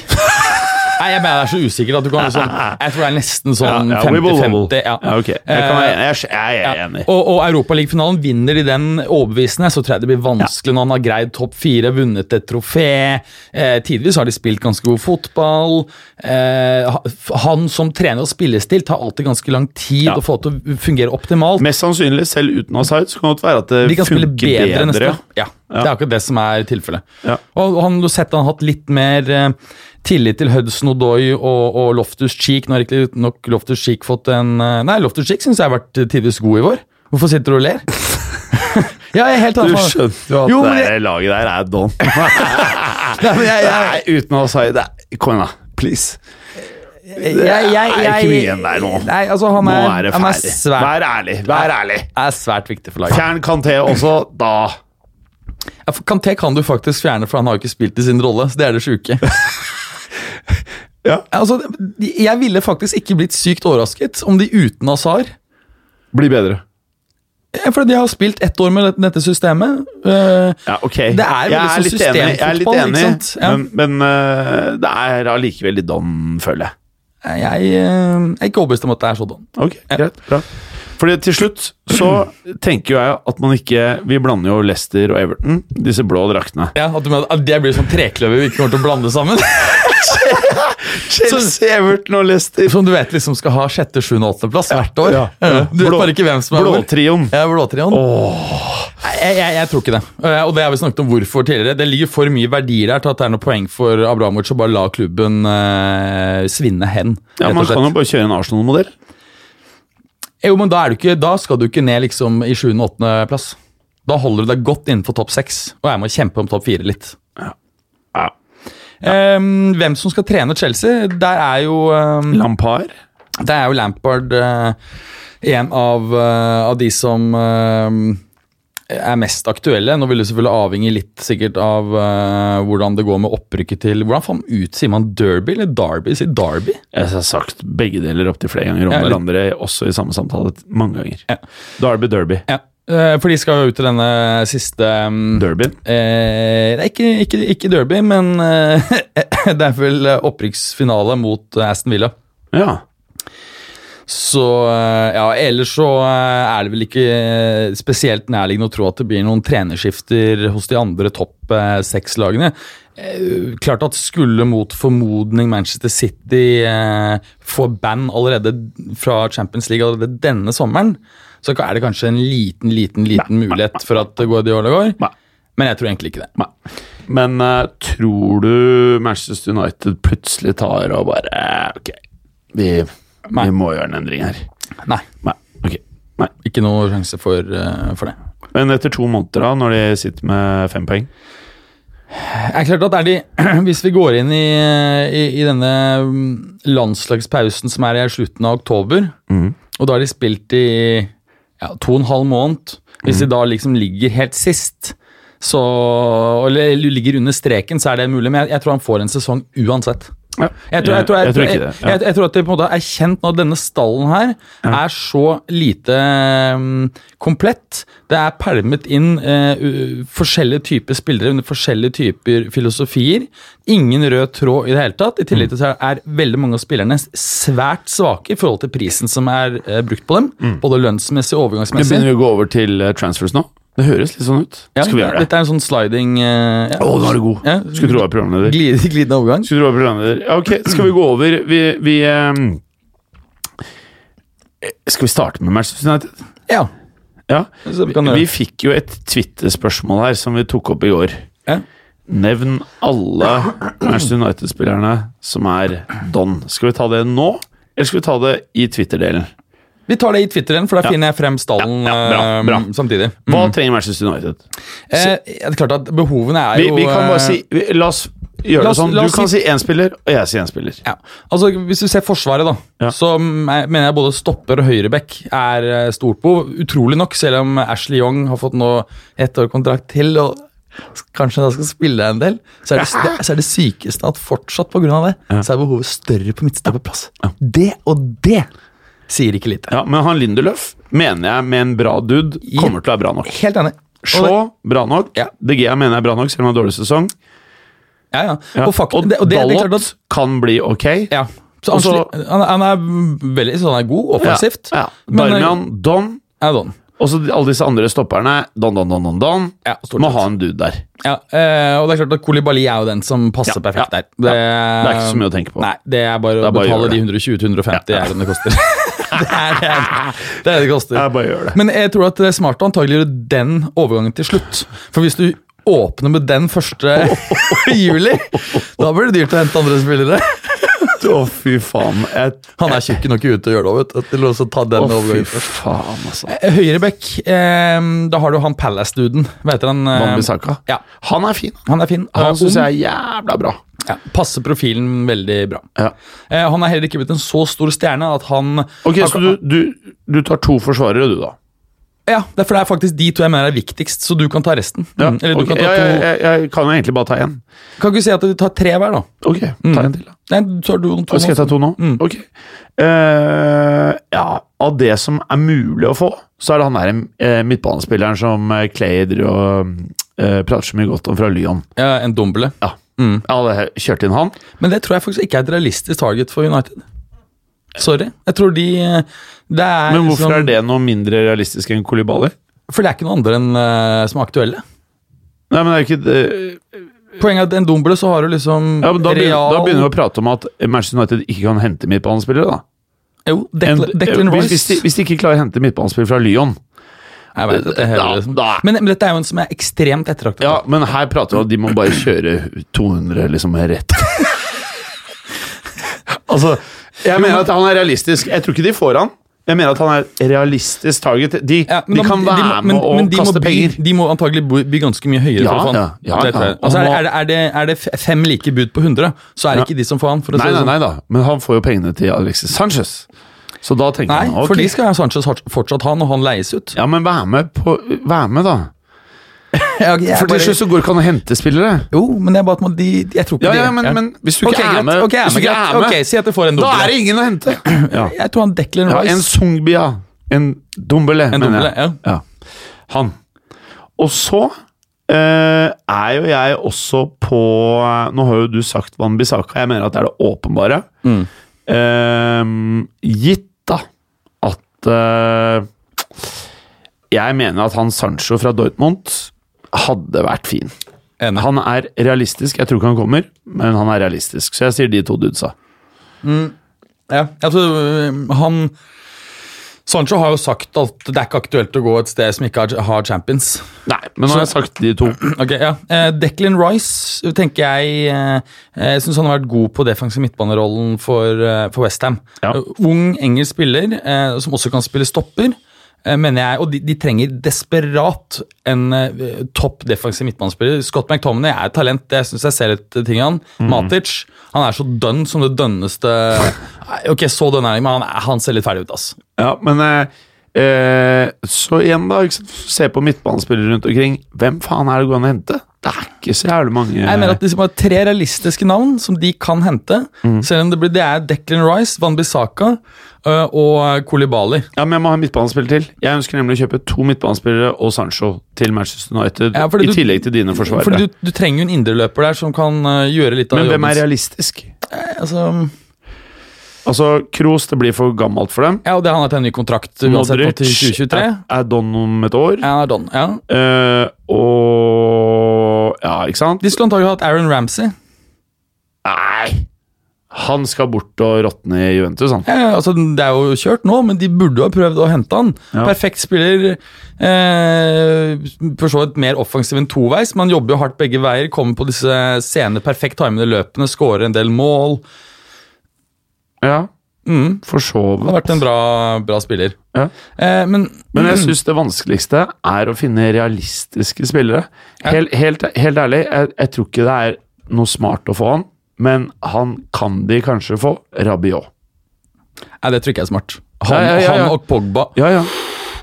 Speaker 3: Nei, jeg mener jeg er så usikker at du kan liksom Jeg tror det er nesten sånn
Speaker 4: ja, we will, we will.
Speaker 3: 50-50.
Speaker 4: Ja, ok. Jeg, kan være enig. Jeg er- jeg er enig.
Speaker 3: Og, og Europaligafinalen vinner de den overbevisende, så tror jeg det blir vanskelig når han har greid topp fire, vunnet et trofé. Eh, tidvis har de spilt ganske god fotball. Eh, ha- han som trener og spillestil tar alltid ganske lang tid
Speaker 4: Ja.
Speaker 3: å få til å fungere optimalt.
Speaker 4: Mest sannsynlig, selv uten Asaid, så kan det godt være at det
Speaker 3: de kan spille
Speaker 4: funker
Speaker 3: bedre,
Speaker 4: bedre.
Speaker 3: neste år.
Speaker 4: ja.
Speaker 3: Ja, Det er akkurat det som er tilfellet.
Speaker 4: Ja.
Speaker 3: Og han, du har sett han har hatt litt mer eh, tillit til Hudson Odoi og, og Loftus Cheek. Nå har ikke nok Loftus Cheek fått en eh, Nei, Loftus Cheek syns jeg har vært eh, tidvis god i vår. Hvorfor sitter du og
Speaker 4: [laughs]
Speaker 3: ler? ja, jeg er helt
Speaker 4: Du
Speaker 3: enig.
Speaker 4: skjønte jo at
Speaker 3: Jo, men
Speaker 4: det
Speaker 3: jeg-
Speaker 4: der laget der er [laughs] don.
Speaker 3: Nei, men jeg, jeg,
Speaker 4: Nei, uten Asaid Kom igjen, da. Please.
Speaker 3: jeg, jeg, jeg,
Speaker 4: Det er ikke mye igjen der nå.
Speaker 3: Nei, altså, han
Speaker 4: Nå
Speaker 3: er,
Speaker 4: er det
Speaker 3: han er
Speaker 4: ferdig.
Speaker 3: svært,
Speaker 4: Vær ærlig. Vær ærlig.
Speaker 3: er svært viktig for laget.
Speaker 4: Fjern Kanté også, da
Speaker 3: Ja, for Kanté kan du faktisk fjerne, for han har jo ikke spilt i sin rolle. så Det er det sjuke.
Speaker 4: Ja.
Speaker 3: Altså, jeg ville faktisk ikke blitt sykt overrasket om de uten Azar
Speaker 4: Bli bedre.
Speaker 3: Ja, For de har spilt ett år med dette- dette systemet. Eh,
Speaker 4: Ja, ok.
Speaker 3: Det er veldig sånn
Speaker 4: litt enig, jeg er litt
Speaker 3: systemfotball,
Speaker 4: enig,
Speaker 3: ikke sant? Ja.
Speaker 4: men, men eh, det er allikevel litt don, føler jeg.
Speaker 3: jeg eh, er ikke overbevist om at det er sånn. sådan.
Speaker 4: Ok, greit, bra. Fordi til slutt så tenker jo jeg at man ikke Vi blander jo Leicester og Everton, disse blå draktene.
Speaker 3: Ja, at, du mener at Det blir sånn trekløver vi ikke kommer til å blande sammen.
Speaker 4: Chelsea, Everton og Leicester.
Speaker 3: [laughs] Som du vet liksom skal ha sjette, sjuende, åttendeplass hvert år. Eh,
Speaker 4: ja, ja.
Speaker 3: Du vet
Speaker 4: Blå-
Speaker 3: bare ikke hvem som er hvor.
Speaker 4: Blåtrioen.
Speaker 3: Ja, blåtrioen. Nei, Jeg, jeg, jeg tror ikke det. Eh, Og det har vi snakket om hvorfor tidligere. Det ligger for mye verdier der til at det er noe poeng for Abramovic å bare la klubben eh, svinne hen.
Speaker 4: Ja,
Speaker 3: rett og
Speaker 4: Man
Speaker 3: slett.
Speaker 4: kan jo bare kjøre en Arsenal-modell.
Speaker 3: Jo, men da, er du ikke, da skal du ikke ned liksom i 7. og 8. plass. Da holder du deg godt innenfor topp 6 og er med å kjempe om topp 4 litt.
Speaker 4: Ja.
Speaker 3: Ehm, hvem som skal trene Chelsea, der er jo, ehm,
Speaker 4: Lampard.
Speaker 3: der er jo Lampard eh, en av, eh, av de som ehm, er mest aktuelle. Nå vil det selvfølgelig avhenge litt sikkert av eh, hvordan det går med opprykket til Hvordan faen ut sier man Derby eller Derby? Sier Derby?
Speaker 4: Jeg har sagt begge deler opptil flere ganger om
Speaker 3: Ja, litt-
Speaker 4: hverandre, også i samme samtale mange ganger. Derby, derby.
Speaker 3: Ja. Eh, For de skal jo ut til denne siste mm,
Speaker 4: Derbyen.
Speaker 3: Eh, nei, ikke, ikke, ikke derby, men eh, [laughs] det er vel eh, opprykksfinale mot eh, Aston Villa.
Speaker 4: Ja.
Speaker 3: Så eh, ja, ellers så eh, er det vel ikke eh, spesielt nærliggende å tro at det blir noen trenerskifter hos de andre topp eh, seks lagene. Eh, Klart at skulle mot formodning Manchester City eh, få band allerede fra Champions League allerede denne sommeren, så er det kanskje en liten, liten, liten mulighet for at Guardiola går.
Speaker 4: Nei.
Speaker 3: Men jeg tror egentlig ikke det.
Speaker 4: Nei. Men eh, tror du Manchester United plutselig tar og bare eh, Ok, vi, vi
Speaker 3: Nei.
Speaker 4: må gjøre en endring her.
Speaker 3: Nei.
Speaker 4: Nei. ok. Nei.
Speaker 3: Ikke noe sjanse for, eh, for det.
Speaker 4: Men etter to måneder, da, når de sitter med fem poeng
Speaker 3: Det er klart at er de, [clears throat] Hvis vi går inn i, i, i denne mm, landslagspausen som er i slutten av oktober, og da har de spilt i ja, to og en halv måned Hvis de da liksom ligger helt sist, så, eller ligger under streken, så er det mulig. Men jeg, jeg tror han får en sesong uansett. Jeg tror, jeg, tror, jeg,
Speaker 4: jeg tror ikke det.
Speaker 3: Jeg, jeg, jeg tror at det på en måte er kjent nå at denne stallen her er så lite mm, komplett. Det er pælmet inn eh, u- forskjellige typer spillere under forskjellige typer filosofier. Ingen rød tråd i det hele tatt. I
Speaker 4: Mm.
Speaker 3: tillegg til så er veldig mange av spillerne s- svært svake i forhold til prisen som er eh, brukt på dem. Både lønnsmessig og
Speaker 4: Nå
Speaker 3: overgangsmessig.
Speaker 4: Mm. begynner vi å gå over til eh, transfers nå. Det høres litt sånn ut.
Speaker 3: Ja,
Speaker 4: Skal vi gjøre det?
Speaker 3: Dette er en sånn sliding eh, ja.
Speaker 4: Å, nå er du god!
Speaker 3: Ja.
Speaker 4: Skulle tro jeg var programleder.
Speaker 3: glid, glidende overgang.
Speaker 4: Skulle tro jeg var programleder. Ja, ok, skal vi gå over Vi, vi ehm, eh, Skal vi starte med Manchester United?
Speaker 3: Ja.
Speaker 4: Ja.
Speaker 3: Så vi kan gjøre
Speaker 4: Vi
Speaker 3: det.
Speaker 4: fikk jo et Twitter-spørsmål her som vi tok opp i går.
Speaker 3: Ja.
Speaker 4: Nevn alle Manchester United-spillerne som er don. Skal vi ta det nå, eller skal vi ta det i Twitter-delen?
Speaker 3: Vi tar det i Twitteren, for da finner jeg frem stallen
Speaker 4: Ja, ja, bra,
Speaker 3: eh,
Speaker 4: bra.
Speaker 3: samtidig.
Speaker 4: Hva trenger Manchester United?
Speaker 3: Eh, det er klart at behovene er
Speaker 4: Vi,
Speaker 3: jo
Speaker 4: vi kan bare
Speaker 3: eh,
Speaker 4: si vi, La oss gjøre
Speaker 3: la oss-
Speaker 4: det sånn.
Speaker 3: la
Speaker 4: Du
Speaker 3: oss
Speaker 4: kan
Speaker 3: si-
Speaker 4: si én spiller, og jeg sier én spiller.
Speaker 3: ja. altså, Hvis du ser Forsvaret, da,
Speaker 4: Ja.
Speaker 3: så mm, jeg mener jeg både stopper og høyrebekk er eh, stort behov. Utrolig nok, selv om Ashley Young har fått nå ett år kontrakt til og s- kanskje da skal spille en del, så er det, s- så er det sykeste at fortsatt pga. det, så er behovet større på midtstoppeplass. Det og det sier ikke lite.
Speaker 4: Ja, Men han Lindelöf mener jeg med en bra dude kommer til å være bra nok.
Speaker 3: Helt enig. Og det-
Speaker 4: Shaw, bra nok.
Speaker 3: Ja.
Speaker 4: De Gea mener jeg er bra nok, selv om han har dårlig sesong.
Speaker 3: Ja, ja.
Speaker 4: Ja.
Speaker 3: Og, fakt, det, og det, det er klart at
Speaker 4: Dalot kan bli ok.
Speaker 3: Ja. Så
Speaker 4: Og så-
Speaker 3: han, sli- han, han er veldig sånn han er god offensivt.
Speaker 4: Ja, ja.
Speaker 3: men- eh,
Speaker 4: Darmian, Don
Speaker 3: Ja, don.
Speaker 4: Og så de- alle disse andre stopperne Don, don, don, don, don
Speaker 3: Ja, stort
Speaker 4: Må
Speaker 3: sett.
Speaker 4: ha en dude der
Speaker 3: Ja, eh, og det er klart at Kolibali er jo den som passer
Speaker 4: Ja,
Speaker 3: perfekt
Speaker 4: ja,
Speaker 3: der. Det,
Speaker 4: Det er ikke så mye å tenke på
Speaker 3: Nei, det er bare
Speaker 4: Det
Speaker 3: å
Speaker 4: er bare å
Speaker 3: betale
Speaker 4: gjøre
Speaker 3: de
Speaker 4: det.
Speaker 3: 120-150 euroene det koster. [laughs] det, er, det, er, det er det det koster.
Speaker 4: Jeg bare gjør det.
Speaker 3: Men jeg tror at det er smart å antagelig gjøre den overgangen til slutt. For hvis du åpner med den første [laughs] juli, da blir det dyrt å hente andre spillere.
Speaker 4: Å fy faen jeg,
Speaker 3: Han er tjukk nok ute til å gjøre det òg, vet du. Til å også ta den
Speaker 4: Å fy
Speaker 3: overgangen.
Speaker 4: faen altså
Speaker 3: Høyrebekk, eh, da har du han Palace-duden. Hva heter han? eh,
Speaker 4: Wan-Bissaka.
Speaker 3: Ja,
Speaker 4: Han er fin
Speaker 3: han er fin.
Speaker 4: Han
Speaker 3: Eh,
Speaker 4: synes
Speaker 3: ung.
Speaker 4: jeg er jævla bra
Speaker 3: ja, passer profilen veldig bra.
Speaker 4: ja.
Speaker 3: Eh, han er heller ikke blitt en så stor stjerne at han
Speaker 4: Ok,
Speaker 3: han,
Speaker 4: så du, du, du tar to forsvarere du da
Speaker 3: Ja, det er for det er faktisk de to jeg mener er viktigst, så du kan ta resten.
Speaker 4: ja.
Speaker 3: Mm, Eller du
Speaker 4: ok,
Speaker 3: kan ta
Speaker 4: jeg,
Speaker 3: to.
Speaker 4: jeg, jeg kan jo egentlig bare ta en
Speaker 3: Kan ikke du si at du tar tre hver, da?
Speaker 4: Ok,
Speaker 3: Mm.
Speaker 4: ta en til da
Speaker 3: Nei, du tar du to.
Speaker 4: Og Skal jeg ta to nå?
Speaker 3: Mm.
Speaker 4: Ok Eh, Ja, av det som er mulig å få Så er det han der eh, midtbanespilleren som eh, Clay driver og eh, prater så mye godt om fra Lyon
Speaker 3: Ja, en dombele.
Speaker 4: Ja. Jeg hadde kjørt inn han.
Speaker 3: Men det tror jeg faktisk ikke Mm. er et realistisk target for United. Sorry. Jeg tror de eh, Det er
Speaker 4: Men hvorfor
Speaker 3: liksom-
Speaker 4: er det noe mindre realistisk enn Kolibali?
Speaker 3: For det er ikke noen andre enn eh, som er aktuelle.
Speaker 4: Nei, men det er jo ikke det-
Speaker 3: Poenget er at en dombele så har du liksom
Speaker 4: ja, men da, begynner,
Speaker 3: Real
Speaker 4: da begynner vi å prate om at Manchester United ikke kan hente midtbanespillere, da.
Speaker 3: Jo,
Speaker 4: En-
Speaker 3: Declan, Declan
Speaker 4: eh, hvis,
Speaker 3: Rice.
Speaker 4: hvis, de, hvis de ikke klarer å hente midtbanespillere fra Lyon
Speaker 3: jeg vet, det er
Speaker 4: Da-
Speaker 3: heller, liksom.
Speaker 4: da-
Speaker 3: men, men dette er jo en som er ekstremt ettertraktet.
Speaker 4: Ja, men her prater vi om at de må bare kjøre 200 liksom rett. altså, jeg mener at han er realistisk. Jeg tror ikke de får han. Jeg mener at han er realistisk target. De,
Speaker 3: Ja, men
Speaker 4: de
Speaker 3: da-
Speaker 4: kan være
Speaker 3: må- men-
Speaker 4: med og
Speaker 3: men de må
Speaker 4: kaste
Speaker 3: bli-
Speaker 4: penger.
Speaker 3: De må antagelig bo- bli ganske mye høyere
Speaker 4: Ja,
Speaker 3: for å få han.
Speaker 4: ja, ja,
Speaker 3: Det tror jeg.
Speaker 4: ja.
Speaker 3: Altså, er,
Speaker 4: Og nå-
Speaker 3: er, det- er, det, er det f- fem like bud på 100, så er det
Speaker 4: Ja.
Speaker 3: ikke de som får han. For å si
Speaker 4: Nei,
Speaker 3: det
Speaker 4: nei,
Speaker 3: sånn.
Speaker 4: nei da. Men han får jo pengene til Alexis Sanchez. Så da tenker
Speaker 3: Nei,
Speaker 4: han ok.
Speaker 3: for de skal Sanchez har- fortsatt ha når han leies ut.
Speaker 4: Ja, men vær med på Vær med, da.
Speaker 3: Jeg, jeg
Speaker 4: For
Speaker 3: bare-
Speaker 4: til slutt så går det ikke an å hente spillere.
Speaker 3: Jo, men jeg, bare, at man- de, jeg tror ikke
Speaker 4: Ja,
Speaker 3: de
Speaker 4: ja, men, men hvis du ikke
Speaker 3: Ok, greit.
Speaker 4: er med,
Speaker 3: Ok, jeg
Speaker 4: hvis du ikke
Speaker 3: greit.
Speaker 4: er med
Speaker 3: Ok, Si at jeg får en
Speaker 4: da
Speaker 3: dobbel.
Speaker 4: er det ingen å hente. Ja,
Speaker 3: Jeg tror han Declan
Speaker 4: ja
Speaker 3: Rice
Speaker 4: En Sungbia. En Dombele,
Speaker 3: En
Speaker 4: mener
Speaker 3: doble,
Speaker 4: jeg.
Speaker 3: ja.
Speaker 4: Ja. Han. Og så eh, er jo jeg også på eh, Nå har jo du sagt Wanbisaka. Jeg mener at det er det åpenbare. Eh, gitt da at eh, Jeg mener at han Sancho fra Dortmund hadde vært fin.
Speaker 3: Enig.
Speaker 4: Han er realistisk. Jeg tror ikke han kommer, men han er realistisk. Så jeg sier de to dudesa.
Speaker 3: Ja, jeg tror, øhm, han Sancho har jo sagt at det er ikke aktuelt å gå et sted som ikke har- har champions.
Speaker 4: Nei, men nå har jeg sagt de to.
Speaker 3: [clears throat] Ok, ja. Eh, Declan Rice tenker jeg eh, Jeg syns han har vært god på defensiv midtbanerollen for, eh, for Westham.
Speaker 4: Ja.
Speaker 3: Ung engelsk spiller eh, som også kan spille stopper, eh, mener jeg. Og de, de trenger desperat en eh, topp defensiv midtbanespiller. Scott McTominay er et talent, det syns jeg ser litt ting i han. Matic han er så dønn som det dønneste Nei, Ok, så dønn er han, men han, er- han ser litt ferdig ut, ass.
Speaker 4: Ja, men eh, eh, Så igjen, da. Ikke sant? Se på midtbanespillere rundt omkring. Hvem faen er det gående å hente? Det er ikke så jævlig mange.
Speaker 3: Jeg mener at det er tre realistiske navn som de kan hente.
Speaker 4: Mm.
Speaker 3: Selv om det, blir, det er Declan Rice, Van Bissaka øh, og Kolibali.
Speaker 4: Ja, men Jeg må ha en midtbanespiller til. Jeg ønsker nemlig å kjøpe to midtbanespillere og Sancho til Manchester United.
Speaker 3: Ja,
Speaker 4: I
Speaker 3: fordi du-
Speaker 4: tillegg til dine
Speaker 3: Fordi
Speaker 4: forsvarere.
Speaker 3: du, du trenger jo en indreløper der som kan øh, gjøre litt av
Speaker 4: men hvem er
Speaker 3: jobben.
Speaker 4: realistisk?
Speaker 3: Altså,
Speaker 4: Altså, Kroos, det blir for gammelt for dem.
Speaker 3: ja, og det handler til en ny kontrakt uansett nå til 2023.
Speaker 4: er, er don om et år.
Speaker 3: Ja, Don, ja.
Speaker 4: Eh, og Ja, ikke sant?
Speaker 3: De skulle antagelig hatt Aaron Ramsey.
Speaker 4: Nei! Han skal bort og råtne i Juventus, han.
Speaker 3: Ja, altså, det er jo kjørt nå, men de burde jo ha prøvd å hente han.
Speaker 4: Ja.
Speaker 3: Perfekt spiller. Eh, for så vidt mer offensiv enn toveis. Man jobber jo hardt begge veier. Kommer på disse sene, perfekt timede løpene, skårer en del mål.
Speaker 4: Ja,
Speaker 3: Mm,
Speaker 4: for så
Speaker 3: han har
Speaker 4: vidt.
Speaker 3: vært en bra, bra spiller.
Speaker 4: Ja.
Speaker 3: Eh, men
Speaker 4: Men
Speaker 3: [clears throat]
Speaker 4: jeg syns det vanskeligste er å finne realistiske spillere.
Speaker 3: Ja.
Speaker 4: Helt, helt, helt ærlig, jeg, jeg tror ikke det er noe smart å få han, men han kan de kanskje få. Rabiot.
Speaker 3: Nei, det tror ikke jeg er smart. Han,
Speaker 4: Ja, ja, ja, ja.
Speaker 3: han og Pogba.
Speaker 4: Ja, ja.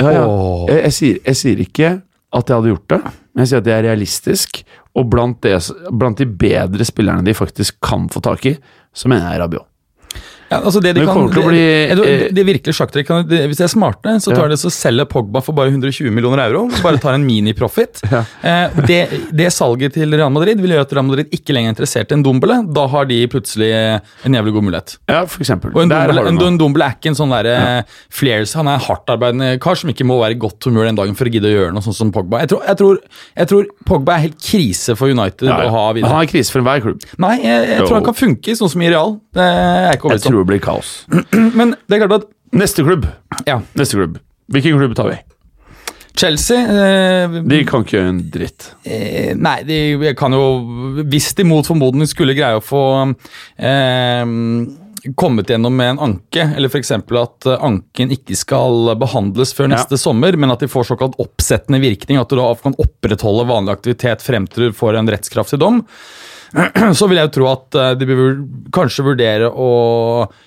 Speaker 4: ja, ja.
Speaker 3: Åh.
Speaker 4: Jeg, jeg, sier, jeg sier ikke at jeg hadde gjort det, men jeg sier at det er realistisk. Og blant, det, blant de bedre spillerne de faktisk kan få tak i, så mener jeg Rabiot.
Speaker 3: Ja, altså det de
Speaker 4: Men det
Speaker 3: kan,
Speaker 4: kommer til å
Speaker 3: det-
Speaker 4: bli,
Speaker 3: det- det-
Speaker 4: eh,
Speaker 3: det er virkelig sjakktrekk. kan- det- Hvis de er smarte, så tar
Speaker 4: Ja.
Speaker 3: de så selger Pogba for bare 120 millioner euro. Bare tar en
Speaker 4: [laughs]
Speaker 3: miniprofit. Eh, det, det salget til Real Madrid vil gjøre at Real Madrid ikke lenger er interessert i en Dombele. Da har de plutselig eh, en jævlig god mulighet.
Speaker 4: Ja, for eksempel.
Speaker 3: Og en
Speaker 4: Der
Speaker 3: Dombele,
Speaker 4: har du
Speaker 3: en,
Speaker 4: noe.
Speaker 3: en Dombele er ikke en sånn derre flares. Han er en hardtarbeidende kar som ikke må være i godt humør den dagen for å gidde å gjøre noe sånn som Pogba. Jeg tror, jeg tror, jeg tror Pogba er helt krise for United
Speaker 4: Ja, ja.
Speaker 3: å ha
Speaker 4: Men
Speaker 3: videre.
Speaker 4: Han er krise for enhver klubb.
Speaker 3: Nei, jeg, jeg
Speaker 4: Jo.
Speaker 3: tror han kan funke sånn som i Real. Det er jeg ikke
Speaker 4: Jeg
Speaker 3: overbevist om.
Speaker 4: tror det blir kaos.
Speaker 3: Men det er klart at
Speaker 4: Neste klubb.
Speaker 3: Ja.
Speaker 4: Neste klubb. Hvilken klubb tar vi?
Speaker 3: Chelsea eh,
Speaker 4: De kan ikke gjøre en dritt.
Speaker 3: eh, Nei, de kan jo Hvis de mot formodning skulle greie å få eh, kommet gjennom med en anke, eller f.eks. at eh, anken ikke skal behandles før
Speaker 4: Ja.
Speaker 3: neste sommer, men at de får såkalt oppsettende virkning, at du da kan opprettholde vanlig aktivitet frem til du får en rettskraftig dom, [clears throat] så vil jeg jo tro at eh, de bør kanskje vurdere å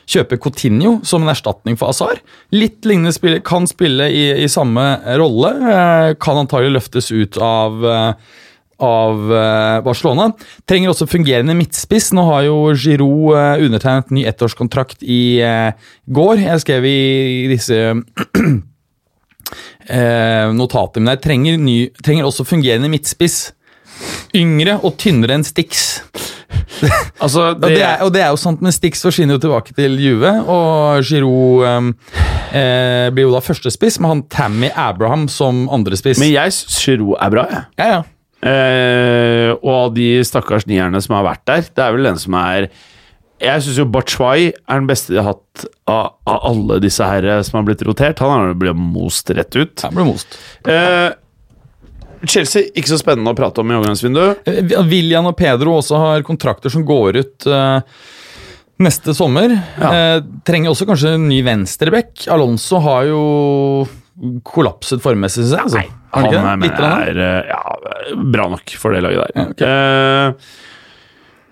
Speaker 3: kjøpe Coutinho som en erstatning for Azar. Litt lignende spiller, kan spille i, i samme rolle. eh, Kan antagelig løftes ut av, eh, av eh, Barcelona. Trenger også fungerende midtspiss. Nå har jo Giroud eh, undertegnet ny ettårskontrakt i eh, går. Jeg skrev i disse [clears throat] eh, notater mine her. Trenger, ny, trenger også fungerende midtspiss. Yngre og tynnere enn Stix.
Speaker 4: Altså, det,
Speaker 3: Ja, det er, og det er jo sant, men Stix forsvinner jo tilbake til Juve, og Giroud ehm, eh, blir jo da førstespiss, med han Tammy Abraham som andrespiss.
Speaker 4: Men jeg syns Giroud er bra, jeg.
Speaker 3: Ja, ja.
Speaker 4: Eh, og av de stakkars nierne som har vært der, det er vel den som er Jeg syns jo Bachwai er den beste de har hatt av, av alle disse her eh, som har blitt rotert. Han har jo blitt most rett ut.
Speaker 3: Han ble most.
Speaker 4: Eh, Chelsea, ikke så spennende å prate om i overgangsvinduet.
Speaker 3: Eh, William og Pedro også har kontrakter som går ut eh, neste sommer. Eh, trenger også kanskje en ny venstreback. Alonso har jo kollapset formmessig, syns jeg. Altså.
Speaker 4: Han
Speaker 3: Har ikke det?
Speaker 4: er,
Speaker 3: Litt grann, da?
Speaker 4: mener jeg er eh, ja, bra nok for det laget der.
Speaker 3: ok.
Speaker 4: Eh,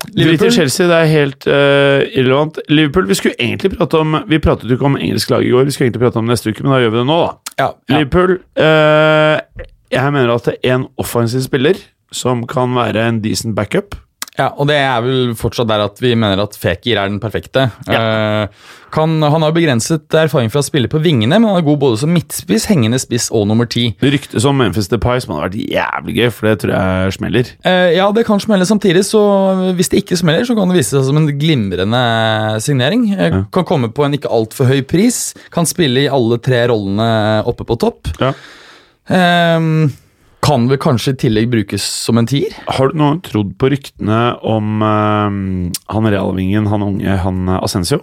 Speaker 4: Drit i
Speaker 3: Liverpool?
Speaker 4: Chelsea, det er helt eh, irrelevant. Liverpool, Vi skulle egentlig prate om Vi pratet jo ikke om engelsk lag i går, vi skulle egentlig prate om det neste uke, men da gjør vi det nå, da.
Speaker 3: Ja, ja.
Speaker 4: Liverpool eh, Jeg mener at det er en offensiv spiller som kan være en decent backup.
Speaker 3: Ja, og det er vel fortsatt der at vi mener at Fekir er den perfekte. Eh, kan, han har begrenset erfaring fra å spille på vingene, men han er god både som midtspiss, hengende spiss og nummer ti.
Speaker 4: Det ryktes om Memphis Depay, som hadde vært jævlig gøy, for det tror jeg smeller.
Speaker 3: Eh, ja, det kan smelle samtidig, så hvis det ikke smeller, så kan det vise seg som en glimrende signering. Eh, Kan komme på en ikke altfor høy pris, kan spille i alle tre rollene oppe på topp.
Speaker 4: Ja.
Speaker 3: Eh, kan vel kanskje i tillegg brukes som en tier?
Speaker 4: Har du noen trodd på ryktene om eh, han realvingen, han unge, han eh, Asensio?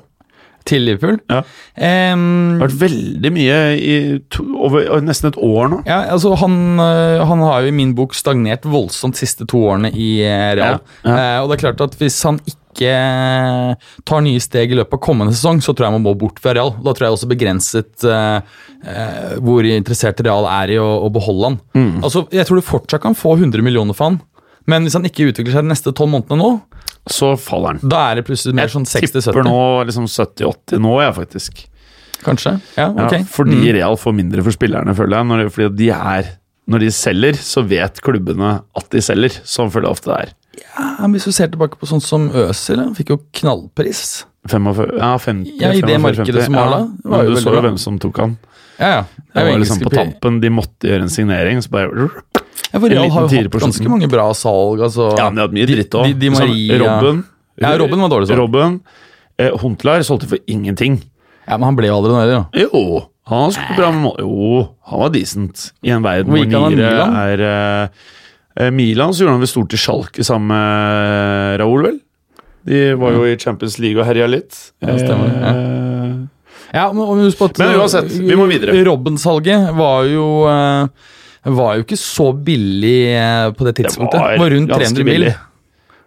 Speaker 3: Til Liverpool?
Speaker 4: Ja.
Speaker 3: Eh,
Speaker 4: Det har vært veldig mye i to, over over nesten et år nå.
Speaker 3: Ja, altså han, øh, han har jo i min bok stagnert voldsomt siste to årene i eh, Real.
Speaker 4: Ja, ja.
Speaker 3: Eh, og det er klart at hvis han ikke eh, tar nye steg i løpet av kommende sesong, så tror jeg man må bort fra Real. Da tror jeg også begrenset eh, eh, hvor interessert Real er i å, å beholde han.
Speaker 4: Mm.
Speaker 3: Altså, Jeg tror du fortsatt kan få 100 millioner for han, men hvis han ikke utvikler seg de neste tolv månedene nå,
Speaker 4: Så faller han.
Speaker 3: da er det plutselig mer sånn
Speaker 4: Tipper
Speaker 3: 60-70.
Speaker 4: nå liksom 70-80 nå, jeg, faktisk.
Speaker 3: Kanskje? Ja,
Speaker 4: Ja,
Speaker 3: ok. Mm.
Speaker 4: Fordi Real får mindre for spillerne, føler jeg. Når, fordi at de er når de selger, så vet klubbene at de selger. Sånn føler jeg ofte det er.
Speaker 3: Ja, men hvis du ser tilbake på sånn som Øzil, han fikk jo knallpris.
Speaker 4: 45, ja, 50,
Speaker 3: Ja, i det
Speaker 4: 45,
Speaker 3: markedet
Speaker 4: 50,
Speaker 3: som var da,
Speaker 4: ja.
Speaker 3: var jo
Speaker 4: Men Du
Speaker 3: veldig
Speaker 4: så jo
Speaker 3: bra.
Speaker 4: hvem som tok han.
Speaker 3: Ja, ja.
Speaker 4: Det
Speaker 3: er jo
Speaker 4: var liksom
Speaker 3: engelske
Speaker 4: på
Speaker 3: pri-
Speaker 4: tampen. De måtte gjøre en signering, så bare
Speaker 3: Ja, for
Speaker 4: En
Speaker 3: Real
Speaker 4: liten
Speaker 3: har jo
Speaker 4: tier
Speaker 3: hatt
Speaker 4: på
Speaker 3: ganske
Speaker 4: slutten.
Speaker 3: mange bra salg. Altså.
Speaker 4: Ja, men de hadde mye
Speaker 3: Di-
Speaker 4: dritt òg.
Speaker 3: Di- Di Maria.
Speaker 4: Robben.
Speaker 3: Ja, Robben var sånn? dårlig salg.
Speaker 4: Robben. Eh, Huntelaar solgte for ingenting.
Speaker 3: Ja, men han ble jo aldri noe heller, da.
Speaker 4: Jo, han har spilt bra med mål. Jo, han var decent. I en verden
Speaker 3: Hvor
Speaker 4: hvor
Speaker 3: gikk han av
Speaker 4: niere
Speaker 3: Milan?
Speaker 4: er eh, eh, Milan så gjorde han vel stort til Schalke sammen med Raoul, vel? De var jo i Champions League og herja litt.
Speaker 3: Ja, stemmer det,
Speaker 4: Eh,
Speaker 3: Ja, men, og husk på at,
Speaker 4: Men uansett, vi må videre.
Speaker 3: Robben-salget var jo eh, var jo ikke så billig eh, på det tidspunktet. Det var, rundt
Speaker 4: ganske
Speaker 3: 300 mil.
Speaker 4: billig.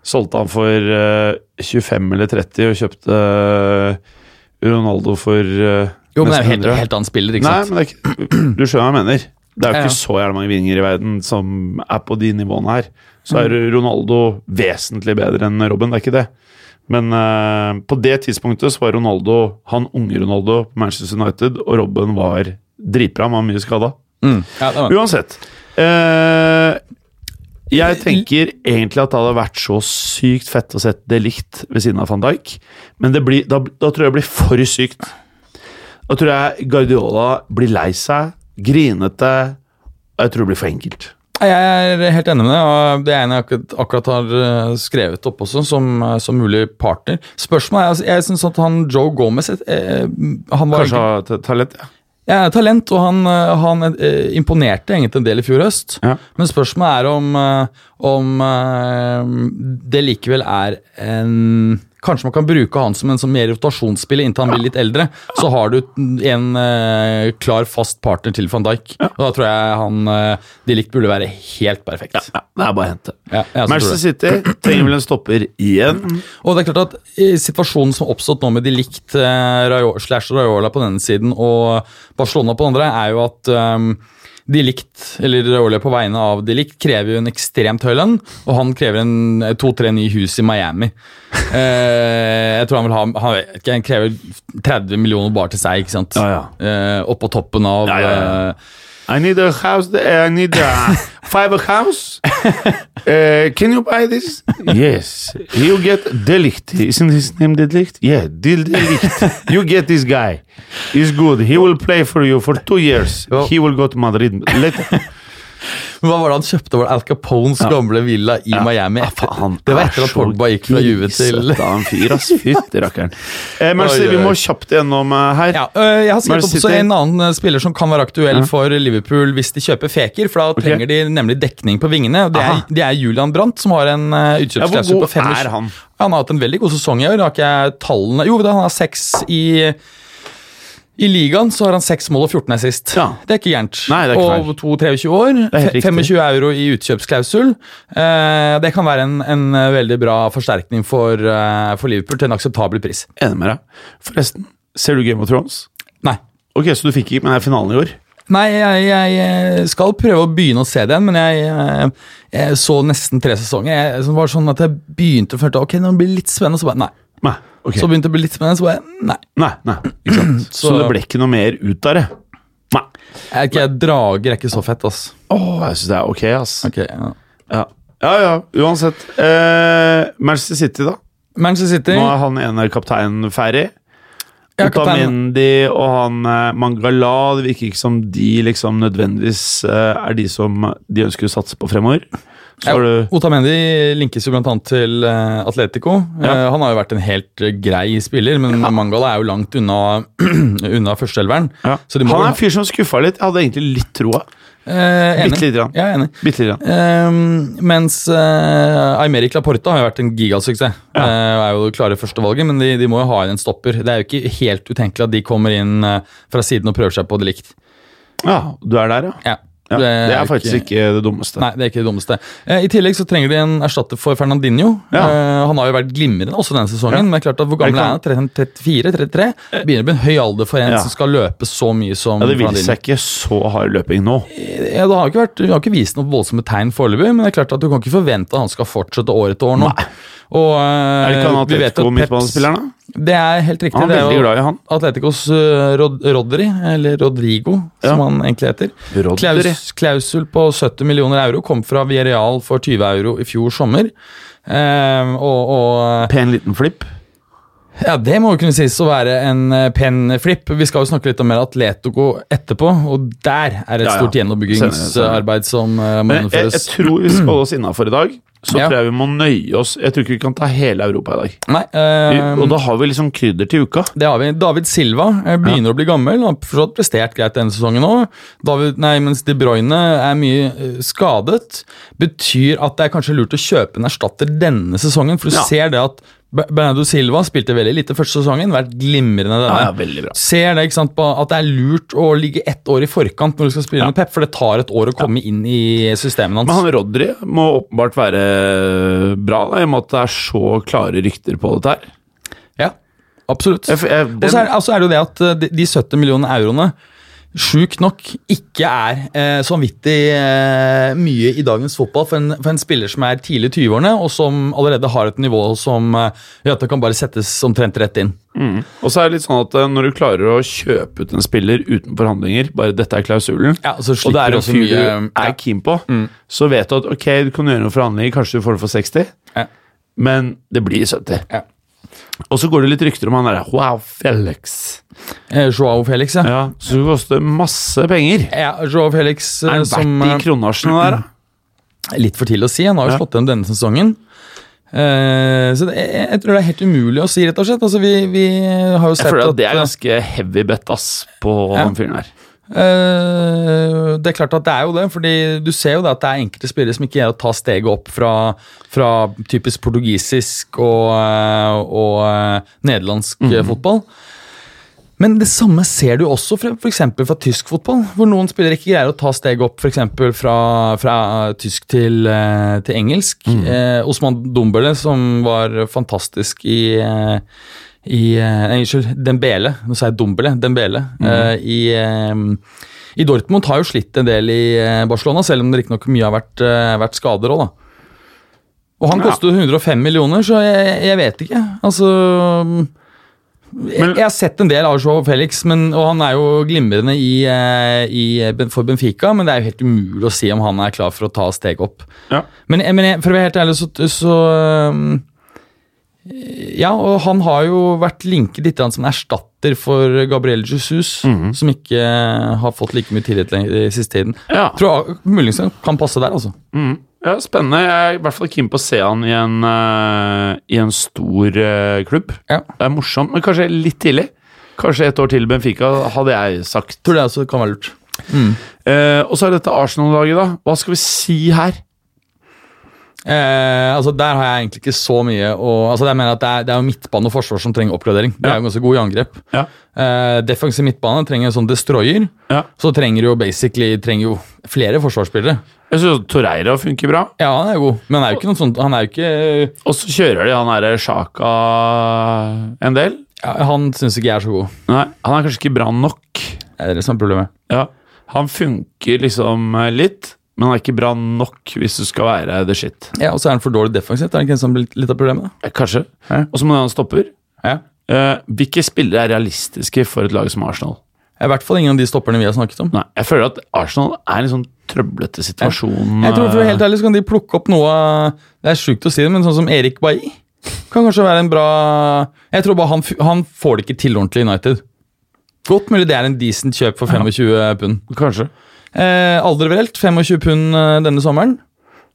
Speaker 4: Solgte han for eh, 25 eller 30 og kjøpte eh, Ronaldo for eh,
Speaker 3: Jo, men det
Speaker 4: nesten
Speaker 3: er jo helt,
Speaker 4: 100.
Speaker 3: helt annen spiller, ikke
Speaker 4: Nei,
Speaker 3: sant?
Speaker 4: men det er ikke, [clears throat] du skjønner hva jeg mener. Det er jo
Speaker 3: Ja,
Speaker 4: ikke
Speaker 3: ja.
Speaker 4: så jævlig mange vinger i verden som er på de nivåene her. Så er
Speaker 3: Mm.
Speaker 4: Ronaldo vesentlig bedre enn Robben, det er ikke det. Men eh, på det tidspunktet så var Ronaldo han unge Ronaldo på Manchester United, og Robben var dritbra, men han var mye skada.
Speaker 3: Mm. Ja, Eh, det var.
Speaker 4: Uansett. eh, jeg tenker egentlig at det hadde vært så sykt fett å sette det likt ved siden av van Dijk, men det blir, da, da tror jeg det blir for sykt. Da tror jeg Guardiola blir lei seg, grinete. og Jeg tror det blir for enkelt.
Speaker 3: Jeg er helt enig med det. og Det er en jeg akkurat, akkurat har eh, skrevet opp også, som, eh, som mulig partner. Spørsmålet er altså, Jeg syns at han Joe Gomez eh, han var
Speaker 4: Kanskje ha ta- talent. ja.
Speaker 3: Ja, talent, og han, eh, han eh, imponerte egentlig en del i fjor høst.
Speaker 4: Ja.
Speaker 3: Men spørsmålet er om, eh, om eh, det likevel er en Kanskje man kan bruke han som en sånn mer rotasjonsspiller inntil han blir litt eldre. Så har du en eh, klar, fast partner til van Dijk. Og da tror jeg han eh, de likt burde være helt perfekt.
Speaker 4: Ja, det er bare å hente.
Speaker 3: Ja, jeg også tror
Speaker 4: Manchester
Speaker 3: det.
Speaker 4: City trenger vel en stopper igjen.
Speaker 3: Og det er klart at eh, situasjonen som har oppstått nå med de likt eh, Rayo- slash Raiola på denne siden og Barcelona på den andre, er jo at ehm, de likt, eller Raiola på vegne av de likt, krever jo en ekstremt høy lønn, og han krever en eh, to-tre nye hus i
Speaker 4: [laughs]
Speaker 3: Miami. Eh, jeg tror han vil ha han, vet ikke, han krever 30 millioner bare til seg, ikke sant?
Speaker 4: Ja,
Speaker 3: Eh, oppå toppen av
Speaker 4: Ja, ja, ja.
Speaker 3: eh,
Speaker 4: I need a house. there. I need
Speaker 3: [laughs]
Speaker 4: a fiber house. Uh, can you buy this? Yes. You get Delict. Isn't his name Delict? Yeah, Del
Speaker 3: [laughs]
Speaker 4: Delict. You get this guy. He's good. He will play for you for two years.
Speaker 3: Ja.
Speaker 4: He will go to Madrid.
Speaker 3: [laughs]
Speaker 4: Let
Speaker 3: Men Hva var det han kjøpte? Var det Al Capones gamle villa i Miami?
Speaker 4: Ah,
Speaker 3: Etter, det var etter at Pogba gikk fra Juve til
Speaker 4: Av en fyr, ass. Fytti
Speaker 3: [laughs]
Speaker 4: rakkeren. Eh, men
Speaker 3: Oi,
Speaker 4: så vi
Speaker 3: oi, oi.
Speaker 4: må kjapt gjennom eh, her.
Speaker 3: Ja, øh, jeg har
Speaker 4: Man
Speaker 3: skrevet opp også
Speaker 4: sitter-
Speaker 3: en annen øh, spiller som kan være aktuell for Liverpool hvis de kjøper Feker, for da trenger de nemlig dekning på vingene. og Det er,
Speaker 4: Aha.
Speaker 3: det er Julian Brandt, som har en øh,
Speaker 4: Ja, hvor
Speaker 3: utkjøpsklasse
Speaker 4: god
Speaker 3: på fem.
Speaker 4: er han?
Speaker 3: Han har hatt en veldig god sesong i år. Har ikke jeg tallene Jo, da, han har seks i i ligaen så har han seks mål og 14 er sist.
Speaker 4: Ja.
Speaker 3: Det er ikke gærent.
Speaker 4: Nei, det er ikke feil.
Speaker 3: og 22-23 år.
Speaker 4: er helt
Speaker 3: fe-
Speaker 4: riktig.
Speaker 3: 25 euro i utkjøpsklausul. Eh, det kan være en, en øh, veldig bra forsterkning for, øh, for Liverpool til en akseptabel pris.
Speaker 4: Enig med deg. Forresten, ser du Game of Thrones?
Speaker 3: Nei.
Speaker 4: Ok, så du fikk ikke med deg finalen i år?
Speaker 3: Nei, jeg, jeg eh, skal prøve å begynne å se det igjen, men jeg, eh, jeg så nesten tre sesonger. Jeg det var sånn at jeg begynte å føle ok, nå blir det litt spennende, så bare nei.
Speaker 4: Nei. ok.
Speaker 3: Så begynte det å bli litt spennende, så bare nei.
Speaker 4: [clears throat] Nei, nei, ikke sant. Så,
Speaker 3: Så-
Speaker 4: det ble ikke noe mer ut av det? Nei.
Speaker 3: Jeg, er ikke, jeg drager er ikke så fett, ass.
Speaker 4: Åh, jeg syns det er ok, ass.
Speaker 3: Ok, ja.
Speaker 4: Ja. ja ja, uansett. Eh, Manchester City, da.
Speaker 3: Manchester City
Speaker 4: Nå er han ene kapteinen ferdig.
Speaker 3: ja, kaptein.
Speaker 4: Otamendi og han eh, Mangala Det virker ikke som de liksom nødvendigvis eh, er de som de ønsker å satse på fremover. Så har du
Speaker 3: Otamendi linkes jo blant annet til eh, Atletico.
Speaker 4: Ja.
Speaker 3: Eh, han har jo vært en helt eh, grei spiller, men Mangala er jo langt unna, [clears throat] unna førsteelveren.
Speaker 4: ja.
Speaker 3: Så de må
Speaker 4: Han er en
Speaker 3: vel-
Speaker 4: fyr som skuffa litt. Jeg hadde egentlig litt troa.
Speaker 3: Eh, enig.
Speaker 4: Bitte lite grann.
Speaker 3: Jeg er enig.
Speaker 4: Bitte lite grann.
Speaker 3: Ehm, mens eh, Aymeric Laporta har jo vært en gigasuksess. Eh, og er jo det klare førstevalget, men de, de må jo ha inn en stopper. Det er jo ikke helt utenkelig at de kommer inn eh, fra siden og prøver seg på det likt.
Speaker 4: Ja, du er der, ja.
Speaker 3: Ja,
Speaker 4: ja. Det er,
Speaker 3: jo
Speaker 4: faktisk ikke det dummeste.
Speaker 3: Nei, det er ikke det dummeste. Eh, I tillegg så trenger de en erstatter for Fernandinho.
Speaker 4: Ja.
Speaker 3: Eh, han har jo vært glimrende også denne sesongen,
Speaker 4: Ja.
Speaker 3: men det er klart at hvor gammel er
Speaker 4: Er
Speaker 3: han? 34-33? Begynner å bli en høy alder for en
Speaker 4: Ja.
Speaker 3: som skal løpe så mye som
Speaker 4: Ja, det vil
Speaker 3: Fernandinho.
Speaker 4: seg ikke så hard løping nå.
Speaker 3: Eh, Ja, det har ikke vært, det har ikke vist noen voldsomme tegn foreløpig, men det er klart at du kan ikke forvente at han skal fortsette år etter år nå. Og, eh,
Speaker 4: Er det ikke han
Speaker 3: vi vet
Speaker 4: Atletico
Speaker 3: at Peps-
Speaker 4: midtbanespilleren, da?
Speaker 3: Det er helt riktig.
Speaker 4: Han
Speaker 3: det
Speaker 4: er
Speaker 3: er
Speaker 4: veldig
Speaker 3: jo
Speaker 4: glad i han.
Speaker 3: Atleticos eh, Rod Rodri, eller Rodrigo,
Speaker 4: Ja.
Speaker 3: som han egentlig heter.
Speaker 4: Rodri.
Speaker 3: Klaus, klausul på 70 millioner euro kom fra Villarreal for 20 euro i fjor sommer. Eh, og, og
Speaker 4: Pen liten flipp.
Speaker 3: ja, det må jo kunne sies å være en eh, pen flip. Vi skal jo snakke litt om mer Atletico etterpå, og der er et
Speaker 4: Ja, ja.
Speaker 3: stort
Speaker 4: Senere, senere.
Speaker 3: gjennombyggingsarbeid som eh, må
Speaker 4: Men jeg, jeg
Speaker 3: gjennomføres.
Speaker 4: tror vi skal holde oss innafor i dag. Så
Speaker 3: Ja.
Speaker 4: tror jeg vi må nøye oss. Jeg tror ikke vi kan ta hele Europa i dag.
Speaker 3: Nei,
Speaker 4: Vi,
Speaker 3: eh,
Speaker 4: og da har vi liksom krydder til uka.
Speaker 3: det har vi. David Silva eh, begynner å bli gammel. Han har forstått prestert greit denne sesongen òg. Nei, mens De Bruyne er mye eh, skadet. Betyr at det er kanskje lurt å kjøpe en erstatter denne sesongen, for du
Speaker 4: Ja.
Speaker 3: ser det at Be- Bernardo Silva spilte veldig lite første sesongen, vært glimrende denne.
Speaker 4: Ja, ja, veldig bra.
Speaker 3: Ser det ikke sant, på at det er lurt å ligge ett år i forkant når du skal spille med Pep, for det tar et år å komme inn i systemet hans.
Speaker 4: Men han Rodri må åpenbart være eh, bra, da, i og med at det er så klare rykter på dette her.
Speaker 3: Ja, absolutt.
Speaker 4: Jeg f- jeg-
Speaker 3: Og så er, altså er det jo det at eh, de, de 70 millioner euroene Sjukt nok ikke er eh, så vanvittig eh, mye i dagens fotball for en, for en spiller som er tidlig i 20-årene, og som allerede har et nivå som eh, gjør at det kan bare settes omtrent rett inn.
Speaker 4: Og så er det litt sånn at eh, når du klarer å kjøpe ut en spiller uten forhandlinger, bare dette er klausulen,
Speaker 3: Ja, og så
Speaker 4: og det
Speaker 3: slipper
Speaker 4: er
Speaker 3: du
Speaker 4: en
Speaker 3: også
Speaker 4: fyr du
Speaker 3: mye
Speaker 4: er keen på,
Speaker 3: Mm.
Speaker 4: så vet du at ok, du kan gjøre noen forhandlinger, kanskje du får det for 60,
Speaker 3: Ja.
Speaker 4: men det blir 70.
Speaker 3: Ja.
Speaker 4: Og så går det litt rykter om han der Wow, Felix.
Speaker 3: Eh, Joao Felix, ja.
Speaker 4: Ja, så det koster masse penger.
Speaker 3: ja Joao Felix eh,
Speaker 4: Er han
Speaker 3: som
Speaker 4: verdt de kronasjene der, da?
Speaker 3: eh, Litt for tidlig å si. Han har jo
Speaker 4: Ja.
Speaker 3: slått igjen denne sesongen. Eh, så det, jeg, jeg tror det er helt umulig å si, rett og slett. Altså, vi, vi har jo sett
Speaker 4: Jeg føler at det
Speaker 3: eh,
Speaker 4: er ganske heavy bet, ass, på han fyren her.
Speaker 3: Eh, det er klart at det er jo det, fordi du ser jo det at det er enkelte spillere som ikke greier å ta steget opp fra, fra typisk portugisisk og, eh, og eh, nederlandsk eh, fotball. Men det samme ser du også fra, for eksempel fra tysk fotball, hvor noen spillere ikke greier å ta steget opp for eksempel fra, fra tysk til, eh, til engelsk. Eh, Osman Dombele, som var fantastisk i, eh, i eh, nei, Unnskyld, Dembele. Nå sa jeg Dombele. Dembele. eh, i, eh, I Dortmund har jo slitt en del i eh, Barcelona, selv om det riktignok mye har vært, eh, vært skader òg, da. Og han
Speaker 4: Ja.
Speaker 3: koster jo 105 millioner, så jeg, jeg vet ikke. Altså jeg, jeg har sett en del av Joao Felix, men, og han er jo glimrende i, eh, i, Ben- for Benfica, men det er jo helt umulig å si om han er klar for å ta steg opp.
Speaker 4: Ja.
Speaker 3: Men, jeg- men jeg, for å være helt ærlig, så, så um, Ja, og han har jo vært linket litt grann som en erstatter for Gabriel Jesus, som ikke eh, har fått like mye tillit lenge- i siste tiden.
Speaker 4: Ja.
Speaker 3: Tror muligens han kan passe der, altså.
Speaker 4: ja, spennende. Jeg er i hvert fall keen på å se han i en, eh, i en stor eh, klubb.
Speaker 3: Ja.
Speaker 4: Det er morsomt, men kanskje litt tidlig. Kanskje et år til Benfica, hadde jeg sagt.
Speaker 3: Tror det altså kan være lurt.
Speaker 4: Eh, og så er dette Arsenal-laget, da. Hva skal vi si her?
Speaker 3: Eh, altså Der har jeg egentlig ikke så mye å Altså jeg mener at Det er, det er jo midtbane og forsvar som trenger oppgradering. De er jo ganske gode i angrep.
Speaker 4: Ja.
Speaker 3: Eh, defensiv midtbane trenger en sånn destroyer.
Speaker 4: Ja.
Speaker 3: Så trenger jo basically trenger jo flere forsvarsspillere.
Speaker 4: Jeg syns Torreira funker bra.
Speaker 3: Ja, han er jo god, men han er jo ikke noe sånt Han er jo ikke
Speaker 4: Og så kjører de han derre Sjaka en del.
Speaker 3: ja, Han syns ikke jeg er så god.
Speaker 4: Nei, han er kanskje ikke bra nok.
Speaker 3: Det er det som er problemet.
Speaker 4: Ja, han funker liksom eh, litt, men han er ikke bra nok hvis du skal være the shit.
Speaker 3: Ja, Og så er han for dårlig defensivt. Er det ikke det som blir litt- litt av problemet?
Speaker 4: Eh, Kanskje.
Speaker 3: Ja.
Speaker 4: Og så må han stopper.
Speaker 3: da? Ja.
Speaker 4: Eh, hvilke spillere er realistiske for et lag som Arsenal?
Speaker 3: I hvert fall ingen av de stopperne vi har snakket om.
Speaker 4: Nei, jeg føler at Arsenal er i en sånn trøblete situasjon.
Speaker 3: Jeg tror for å være
Speaker 4: eh,
Speaker 3: helt ærlig så kan de plukke opp noe av- Det er sjukt å si det, men sånn som Erik Bailly kan kanskje være en bra Jeg tror bare han, f- han får det ikke til ordentlig i United. Godt mulig det er en decent kjøp for 25 pund.
Speaker 4: Kanskje.
Speaker 3: Eh, Alderverelt, 25 pund eh, denne sommeren.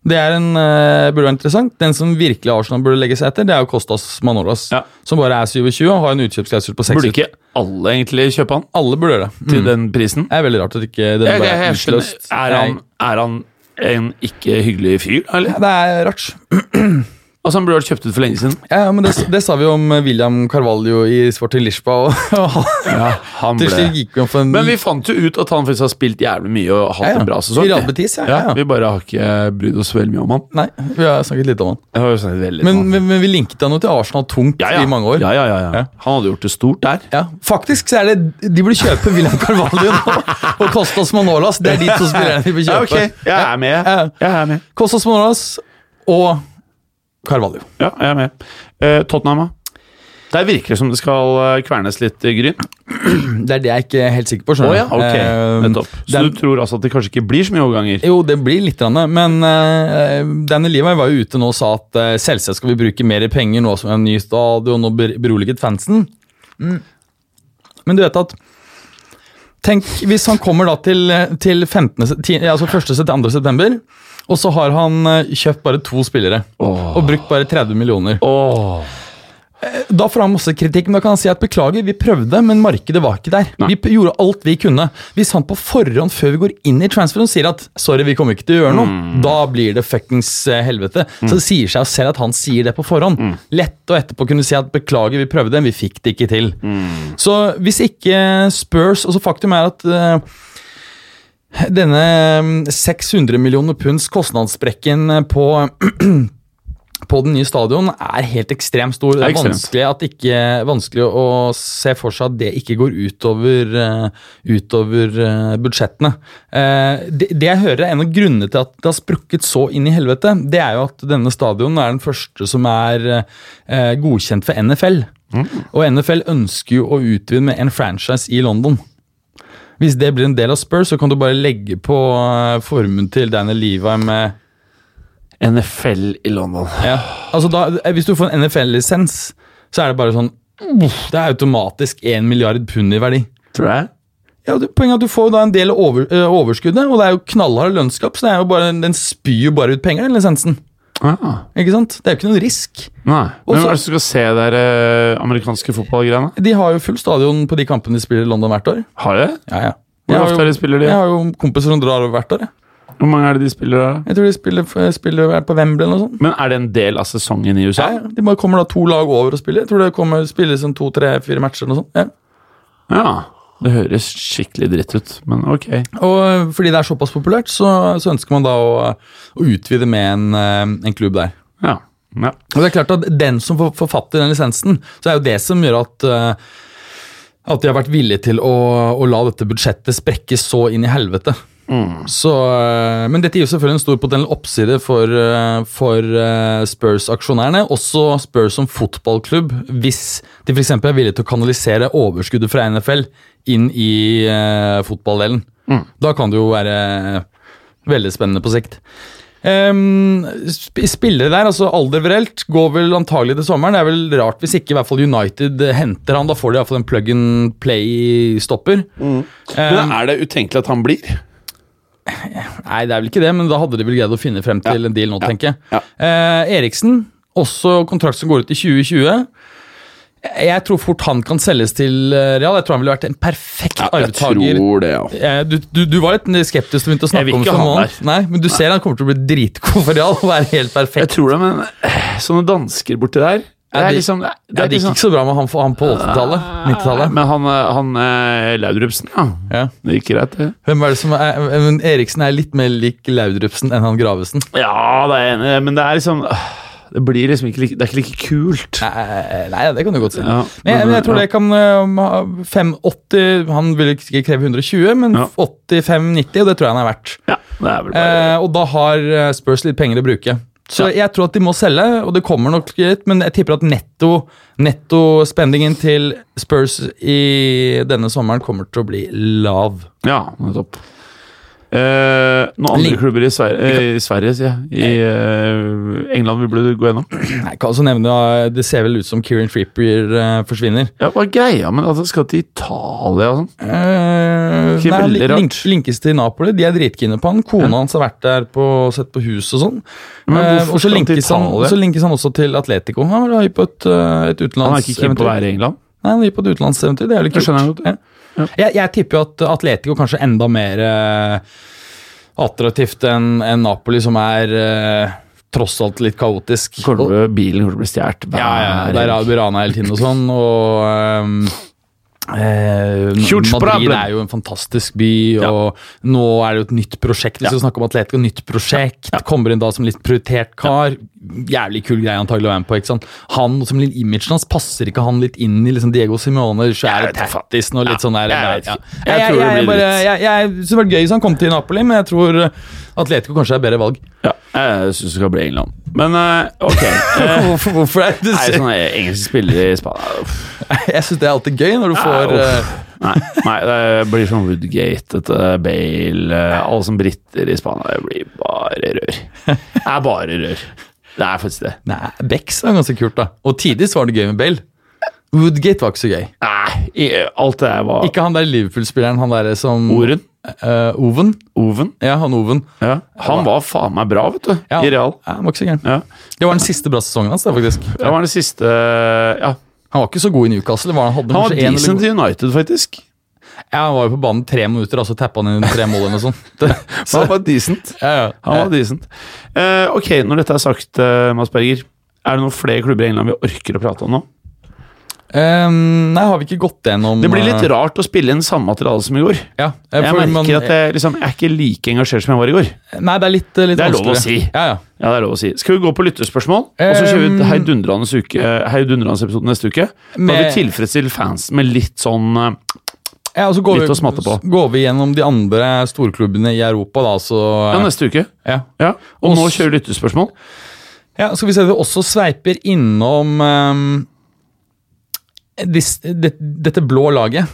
Speaker 3: Det er en, eh, burde være interessant. Den som virkelig Arsenal burde legge seg etter, det er jo Kostas Manolas.
Speaker 4: Ja.
Speaker 3: Som bare er 27 og har en utkjøpsklausul på 6
Speaker 4: Burde ikke alle egentlig kjøpe han
Speaker 3: Alle burde gjøre det. Mm.
Speaker 4: til den prisen?
Speaker 3: Det er veldig rart at ikke den
Speaker 4: Jeg,
Speaker 3: bare
Speaker 4: jeg,
Speaker 3: er
Speaker 4: jeg skjønner.
Speaker 3: utløst.
Speaker 4: Er han,
Speaker 3: Nei.
Speaker 4: er han en ikke hyggelig fyr, eller?
Speaker 3: Det er rart.
Speaker 4: Altså, han burde vært kjøpt ut for lenge siden.
Speaker 3: Ja, ja, men det, det sa vi om eh, William Carvalho i Sporting Lisboa. Og, [laughs] og han-
Speaker 4: han
Speaker 3: til
Speaker 4: ble...
Speaker 3: slutt gikk vi opp for en
Speaker 4: Men vi fant jo ut at han faktisk har spilt jævlig mye og hatt
Speaker 3: Ja, ja.
Speaker 4: en bra sesong.
Speaker 3: I Real Betis, ja, ja, ja.
Speaker 4: Vi bare har ikke brydd oss veldig mye om han.
Speaker 3: Nei, vi har snakket litt om han.
Speaker 4: Jeg har jo snakket veldig
Speaker 3: Men,
Speaker 4: om han.
Speaker 3: men, men vi linket han jo til Arsenal tungt
Speaker 4: ja, ja.
Speaker 3: i mange år.
Speaker 4: Ja, ja, ja, ja.
Speaker 3: Ja.
Speaker 4: Han hadde gjort det stort der.
Speaker 3: Ja, faktisk så er det De burde kjøpe William Carvalho nå, [laughs] og Kostas Manolas. Det er de to spillerne de bør kjøpe.
Speaker 4: Jeg er med.
Speaker 3: Ja.
Speaker 4: Jeg er med.
Speaker 3: Kostas Manolas og Carvalho.
Speaker 4: Ja, jeg er med. Eh, Tottenham, da? Der virker det som det skal eh, kvernes litt eh, gryn.
Speaker 3: Det er det jeg ikke er helt sikker på.
Speaker 4: Å
Speaker 3: skjønner
Speaker 4: ja,
Speaker 3: du.
Speaker 4: ok.
Speaker 3: Eh,
Speaker 4: Nettopp. Så
Speaker 3: Dan-
Speaker 4: du tror altså at det kanskje ikke blir så mye overganger?
Speaker 3: jo, det blir litt, grann, men uh, Danny Levi var jo ute nå og sa at eh, selvsagt skal vi bruke mer penger nå som vi har en ny stadion og ber- beroliget fansen. Men du vet at Tenk hvis han kommer da til, til 15, se- ti- altså 1. til 2. september, og så har han eh, kjøpt bare to spillere
Speaker 4: Åh.
Speaker 3: og brukt bare 30 millioner.
Speaker 4: Åh.
Speaker 3: Da får han masse kritikk, men da kan han si at beklager, vi prøvde, men markedet var ikke der. Vi p- gjorde alt vi kunne. Hvis han på forhånd, før vi går inn i transferen, sier at sorry, vi kommer ikke til å gjøre noe, da blir det fuckings eh, helvete. Så det sier seg jo selv at han sier det på forhånd. Lett å etterpå kunne si at beklager, vi prøvde, vi fikk det ikke til. Så hvis ikke Spurs Og så faktum er at eh, denne mm, 600 millioner punds kostnadssprekken eh, på [clears throat] på den nye stadion er helt ekstremt stor. Det
Speaker 4: Det er
Speaker 3: er
Speaker 4: ekstremt.
Speaker 3: vanskelig, at ikke, vanskelig å se for seg at det ikke går utover, eh, utover eh, budsjettene. Eh, det, det jeg hører er en av grunnene til at det har sprukket så inn i helvete, det er jo at denne stadion er den første som er eh, godkjent for NFL. Og NFL ønsker jo å utvide med en franchise i London. Hvis det blir en del av Spurs, så kan du bare legge på eh, formuen til Daniel Levi med
Speaker 4: NFL i London.
Speaker 3: ja. Altså da, hvis du får en NFL-lisens, så er det bare sånn uff, Det er automatisk 1 milliard pund i verdi.
Speaker 4: Tror jeg.
Speaker 3: Ja, det, Poenget er at du får jo da en del av over, eh, overskuddet, og det er jo knallhard lønnskap, så det er jo bare, den spyr jo bare ut penger, den lisensen.
Speaker 4: Ah.
Speaker 3: Ikke sant? Det er jo ikke noen risk.
Speaker 4: Nei.
Speaker 3: Og
Speaker 4: Hvem
Speaker 3: så-
Speaker 4: er det som skal se de eh, amerikanske fotballgreiene?
Speaker 3: De har jo full stadion på de kampene de spiller i London hvert år.
Speaker 4: Har de det?
Speaker 3: Ja, ja.
Speaker 4: Hvor
Speaker 3: Jeg har
Speaker 4: ofte
Speaker 3: jo-
Speaker 4: er det spiller de?
Speaker 3: Jeg har jo kompiser som drar over hvert år. Jeg,
Speaker 4: Hvor mange er det de spiller da?
Speaker 3: jeg tror de spiller, spiller på Wembley eller noe sånt.
Speaker 4: Men er det en del av sesongen i USA?
Speaker 3: Ja, ja. De bare kommer da to lag over og spiller. Jeg tror det kommer spilles sånn en to-tre-fire matcher eller noe sånt. Ja.
Speaker 4: Ja. Det høres skikkelig dritt ut, men ok.
Speaker 3: Og eh, fordi det er såpass populært, så, så ønsker man da å, å utvide med en, eh, en klubb der.
Speaker 4: Ja. ja.
Speaker 3: Og det er klart at Den som får, får fatt i den lisensen, så er jo det som gjør at eh, at de har vært villige til å, å la dette budsjettet sprekke så inn i helvete. Så, eh, men dette gir jo selvfølgelig en stor potensiell oppside for, eh, for eh, Spurs-aksjonærene. Også Spurs som fotballklubb, hvis de f.eks. er villige til å kanalisere overskuddet fra NFL inn i eh, fotballdelen. Da kan det jo være eh, veldig spennende på sikt. Ehm, sp spillere der, altså alderverelt, går vel antagelig til sommeren. Det er vel rart hvis ikke i hvert fall United eh, henter han. Da får de i hvert fall en plug and play-stopper.
Speaker 4: Men er det utenkelig at han blir?
Speaker 3: Nei, det er vel ikke det, men da hadde de vel greid å finne frem til en deal nå, tenker jeg.
Speaker 4: ja.
Speaker 3: Eh, Eriksen, også kontrakt som går ut i 2020. Jeg tror fort han kan selges til eh, Real. Jeg tror han ville vært en perfekt arvtaker.
Speaker 4: det, ja.
Speaker 3: Eh, Du, du, du var litt skeptisk til å begynne å
Speaker 4: Jeg
Speaker 3: snakke
Speaker 4: vil ikke
Speaker 3: om det for
Speaker 4: ha han
Speaker 3: måned. Nei, men du ser han kommer til å bli dritgod for Real og være helt perfekt.
Speaker 4: Jeg tror det, men eh, sånne dansker borti der Det
Speaker 3: Ja,
Speaker 4: er
Speaker 3: de-
Speaker 4: liksom Det
Speaker 3: Ja,
Speaker 4: er
Speaker 3: det gikk
Speaker 4: liksom
Speaker 3: ikke så bra med han, han på 80-tallet. 90-tallet.
Speaker 4: Men han, eh, han eh, Laudrupsen, ja.
Speaker 3: Ja.
Speaker 4: Det gikk greit, det.
Speaker 3: Hvem er det som er, eh, men Eriksen er litt mer lik Laudrupsen enn han Gravesen.
Speaker 4: Ja, det er jeg enig, i, men det er liksom øh, Det blir liksom ikke like, Det er ikke like kult.
Speaker 3: Nei, nei, det kan du godt si.
Speaker 4: Ja,
Speaker 3: men, jeg, men jeg tror
Speaker 4: ja.
Speaker 3: det kan um, ha 580 Han vil ikke kreve 120, men
Speaker 4: Ja.
Speaker 3: 85-90, og det tror jeg han er verdt.
Speaker 4: Ja, det er vel bare
Speaker 3: Eh, og da har eh, Spurs litt penger å bruke. Så jeg tror at de må selge, og det kommer nok litt, men jeg tipper at netto nettospendingen til Spurs i denne sommeren kommer til å bli lav.
Speaker 4: Ja, nettopp. Eh, noen andre
Speaker 3: Lin-
Speaker 4: klubber i Sverige, eh, i Sverige sier jeg. I eh, England vi burde gå gjennom.
Speaker 3: Jeg kan også nevne, eh, Det ser vel ut som Kieran Trippier eh, forsvinner.
Speaker 4: Ja, Hva er greia med at altså, skal til Italia og sånn?
Speaker 3: Eh,
Speaker 4: Ikke
Speaker 3: nei,
Speaker 4: veldig rart.
Speaker 3: link, linkes til Napoli. De er dritkine på han. Kona hans har vært der på, sett på hus og sånn.
Speaker 4: Men
Speaker 3: Eh,
Speaker 4: hvorfor
Speaker 3: og så
Speaker 4: skal han til
Speaker 3: linkes, han,
Speaker 4: Italia?
Speaker 3: så linkes han også til Atletico. Han var da hypp på et, eh, et
Speaker 4: Han er ikke keen på å
Speaker 3: utenlandseventyr.
Speaker 4: være i England.
Speaker 3: Nei, han gikk på et utenlandseventyr. Det er litt
Speaker 4: Det
Speaker 3: kult.
Speaker 4: skjønner jeg godt, ja.
Speaker 3: Ja. Jeg, jeg tipper jo at Atletico kanskje er enda mer eh, attraktivt enn enn Napoli, som er eh, tross alt litt kaotisk.
Speaker 4: Kommer til å bli- Bilen kommer til å bli stjålet hver
Speaker 3: Ja, ja, ja, der er vi rana hele tiden og sånn, og ehm, eh,
Speaker 4: Huge
Speaker 3: Madrid
Speaker 4: problem.
Speaker 3: er jo en fantastisk by,
Speaker 4: Ja.
Speaker 3: og nå er det jo et nytt prosjekt. Vi skal snakke om Atletico, nytt prosjekt. Kommer inn da som litt prioritert kar. Jævlig kul greie antagelig å være med på. ikke sant? Han som litt imagen hans, passer ikke han litt inn i liksom Diego Simone, svære tattisen og litt sånn der?
Speaker 4: jeg vet
Speaker 3: ja.
Speaker 4: ikke.
Speaker 3: Jeg,
Speaker 4: Jeg
Speaker 3: jeg,
Speaker 4: tror det
Speaker 3: jeg,
Speaker 4: blir
Speaker 3: bare,
Speaker 4: litt-
Speaker 3: jeg, jeg synes det hadde vært gøy hvis han kom til Napoli, men jeg tror eh, Atletico kanskje er bedre valg.
Speaker 4: Ja, jeg syns det skal bli England. Men eh, [laughs] ok. Eh,
Speaker 3: Hvorfor, hvorfor er det
Speaker 4: Nei, sånne engelske spillere i Spania uff.
Speaker 3: Jeg syns det er alltid gøy når du får
Speaker 4: uff.
Speaker 3: eh,
Speaker 4: Nei, nei, det blir sånn Woodgate, dette Bale eh, Alle som briter i Spania, det blir bare rør. Det er bare rør. Det er faktisk det.
Speaker 3: Nei, Becks var ganske kult, da. Og tidligst var det gøy med Bale. Woodgate var ikke så gøy.
Speaker 4: Nei, i, alt det der var
Speaker 3: Ikke han der Liverpool-spilleren, han derre som
Speaker 4: Oren.
Speaker 3: Eh, Oven.
Speaker 4: Oven.
Speaker 3: Ja, han Oven.
Speaker 4: Ja. Han var faen meg bra, vet du,
Speaker 3: Ja.
Speaker 4: i Real.
Speaker 3: Ja, han var ikke så gæren.
Speaker 4: Ja.
Speaker 3: Det var den siste bra sesongen hans, det, faktisk.
Speaker 4: Det var den siste Ja.
Speaker 3: Han var ikke så god i Newcastle. Var han, hadde
Speaker 4: Han var
Speaker 3: kanskje en eller
Speaker 4: decent
Speaker 3: god-
Speaker 4: i United, faktisk.
Speaker 3: ja, han var jo på banen tre minutter, og så tappa han inn tre mål eller
Speaker 4: [laughs]
Speaker 3: noe sånt. Det, så,
Speaker 4: Han var decent.
Speaker 3: ja, ja.
Speaker 4: Han var decent. Eh, ok, når dette er sagt, uh, Mads Berger, er det noen flere klubber i England vi orker å prate om nå?
Speaker 3: Eh, nei, har vi ikke gått gjennom
Speaker 4: Det blir litt
Speaker 3: eh,
Speaker 4: rart å spille inn samme materiale som i går.
Speaker 3: Ja, eh,
Speaker 4: Jeg
Speaker 3: for
Speaker 4: merker
Speaker 3: man-
Speaker 4: at jeg, liksom, jeg er ikke like engasjert som jeg var i går.
Speaker 3: Nei, det er litt, eh, litt
Speaker 4: Det er lov å
Speaker 3: vanskeligere.
Speaker 4: si.
Speaker 3: Ja, ja.
Speaker 4: Ja, det er lov å si. Skal vi gå på lytterspørsmål, og så kjører vi et heidundrende uke- eh, heidundrende episode neste uke? Da har
Speaker 3: Med-
Speaker 4: vi tilfredsstilt fans med litt sånn eh,
Speaker 3: ja og så går
Speaker 4: Litt
Speaker 3: vi,
Speaker 4: å smatte på.
Speaker 3: Går vi gjennom de andre storklubbene i Europa, da, så
Speaker 4: Ja, neste uke.
Speaker 3: ja.
Speaker 4: Ja. Og nå
Speaker 3: Og s-
Speaker 4: kjører vi lytterspørsmål.
Speaker 3: Ja, skal vi se, vi også sveiper innom ehm, dis, det, dette blå laget.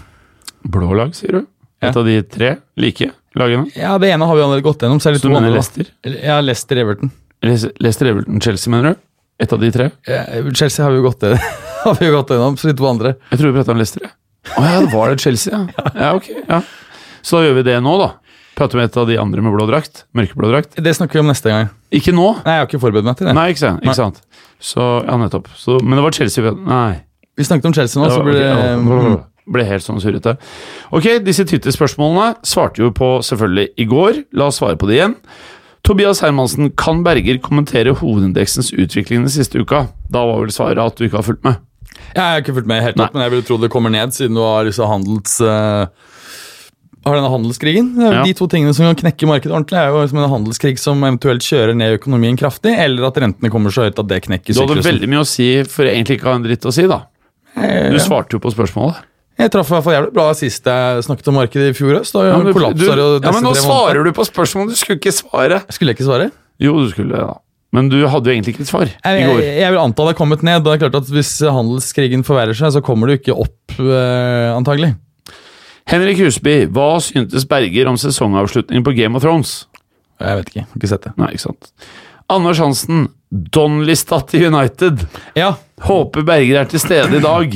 Speaker 4: Blå lag, sier du?
Speaker 3: Ja.
Speaker 4: Et av de tre like lagene?
Speaker 3: Ja, Det ene har vi allerede gått gjennom. Så er det
Speaker 4: Så
Speaker 3: to
Speaker 4: du mener
Speaker 3: andre. da.
Speaker 4: Leicester?
Speaker 3: Ja, Leicester Everton.
Speaker 4: Les- Leicester, Everton, Chelsea, mener du? Et av de tre?
Speaker 3: Eh, Chelsea har vi jo gått, [laughs] har vi jo gått gjennom, så de to andre.
Speaker 4: Jeg tror vi pratet om Leicester. jeg. Å ja, det var det Chelsea, [laughs] ja. ja, ok, ja. Så da gjør vi det nå, da. Prater med et av de andre med blå drakt. Mørkeblå drakt.
Speaker 3: Det snakker vi om neste gang.
Speaker 4: Ikke nå!
Speaker 3: Nei, jeg har ikke forberedt meg til det.
Speaker 4: Nei, ikke sant.
Speaker 3: Nei.
Speaker 4: Ikke sant. Så, ja, nettopp. Så, men det var Chelsea vi Nei.
Speaker 3: Vi snakket om Chelsea nå,
Speaker 4: Det
Speaker 3: så
Speaker 4: var-
Speaker 3: blir det
Speaker 4: ok, ja.
Speaker 3: mm,
Speaker 4: Ble helt sånn surrete. Ok, disse Twitter-spørsmålene svarte jo på selvfølgelig i går. La oss svare på det igjen. Tobias Hermansen, kan Berger kommentere hovedindeksens utvikling den siste uka? Da var vel svaret at du ikke har fulgt med.
Speaker 3: Jeg har ikke fulgt med helt opp, men jeg ville tro det kommer ned, siden du har disse handels... eh, har denne handelskrigen. Det er jo
Speaker 4: Ja.
Speaker 3: De to tingene som kan knekke markedet ordentlig, er jo liksom en handelskrig som eventuelt kjører ned økonomien kraftig, eller at rentene kommer så høyt at det knekker
Speaker 4: Du hadde
Speaker 3: syklusen.
Speaker 4: veldig mye å si for egentlig ikke å ha en dritt å si, da. Du svarte jo på spørsmålet.
Speaker 3: Jeg traff i hvert fall jævlig bra sist jeg snakket om markedet i fjor høst. Da
Speaker 4: men,
Speaker 3: kollapsa det jo
Speaker 4: du, ja, men nå
Speaker 3: tre måneder.
Speaker 4: svarer du på spørsmålet, du skulle ikke svare!
Speaker 3: Skulle jeg ikke svare?
Speaker 4: Jo, du skulle det, da. Men du hadde jo egentlig ikke et svar i
Speaker 3: Jeg,
Speaker 4: går.
Speaker 3: jeg, jeg vil anta det er kommet ned. Det er klart at Hvis handelskrigen forverrer seg, så kommer det jo ikke opp, eh, antagelig.
Speaker 4: Henrik Husby, hva syntes Berger om sesongavslutningen på Game of Thrones?
Speaker 3: Jeg vet ikke. Har ikke sett det.
Speaker 4: Nei, ikke sant. Anders Hansen, Donlistad til United.
Speaker 3: Ja.
Speaker 4: Håper Berger er til stede i dag.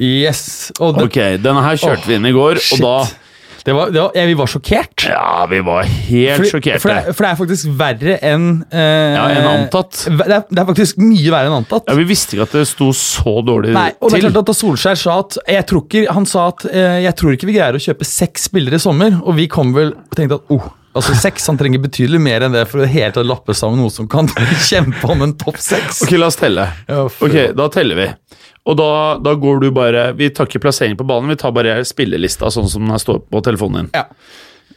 Speaker 3: Yes. Og det,
Speaker 4: Ok, denne her kjørte vi inn i går,
Speaker 3: shit.
Speaker 4: og da
Speaker 3: det var, det var, jeg, vi var sjokkert.
Speaker 4: Ja, vi var helt
Speaker 3: Fordi- For det,
Speaker 4: sjokkerte.
Speaker 3: er- for det er faktisk verre enn eh,
Speaker 4: Ja, enn antatt.
Speaker 3: Det er, det er faktisk mye verre enn antatt.
Speaker 4: Ja, Vi visste ikke at det sto så dårlig
Speaker 3: Nei, og det er
Speaker 4: til.
Speaker 3: klart at da Solskjær sa at jeg tror ikke, Han sa at eh, jeg tror ikke vi greier å kjøpe seks spillere i sommer, og vi kom vel og tenkte at oh, altså seks Han trenger betydelig mer enn det for å helt å lappe sammen noe som kan [laughs] kjempe om en topp seks.
Speaker 4: Ok, la oss telle.
Speaker 3: Ja, for-
Speaker 4: Ok, da teller vi. Og da, da går du bare Vi tar ikke plassering på banen, vi tar bare spillelista sånn som den her står på telefonen din.
Speaker 3: Ja.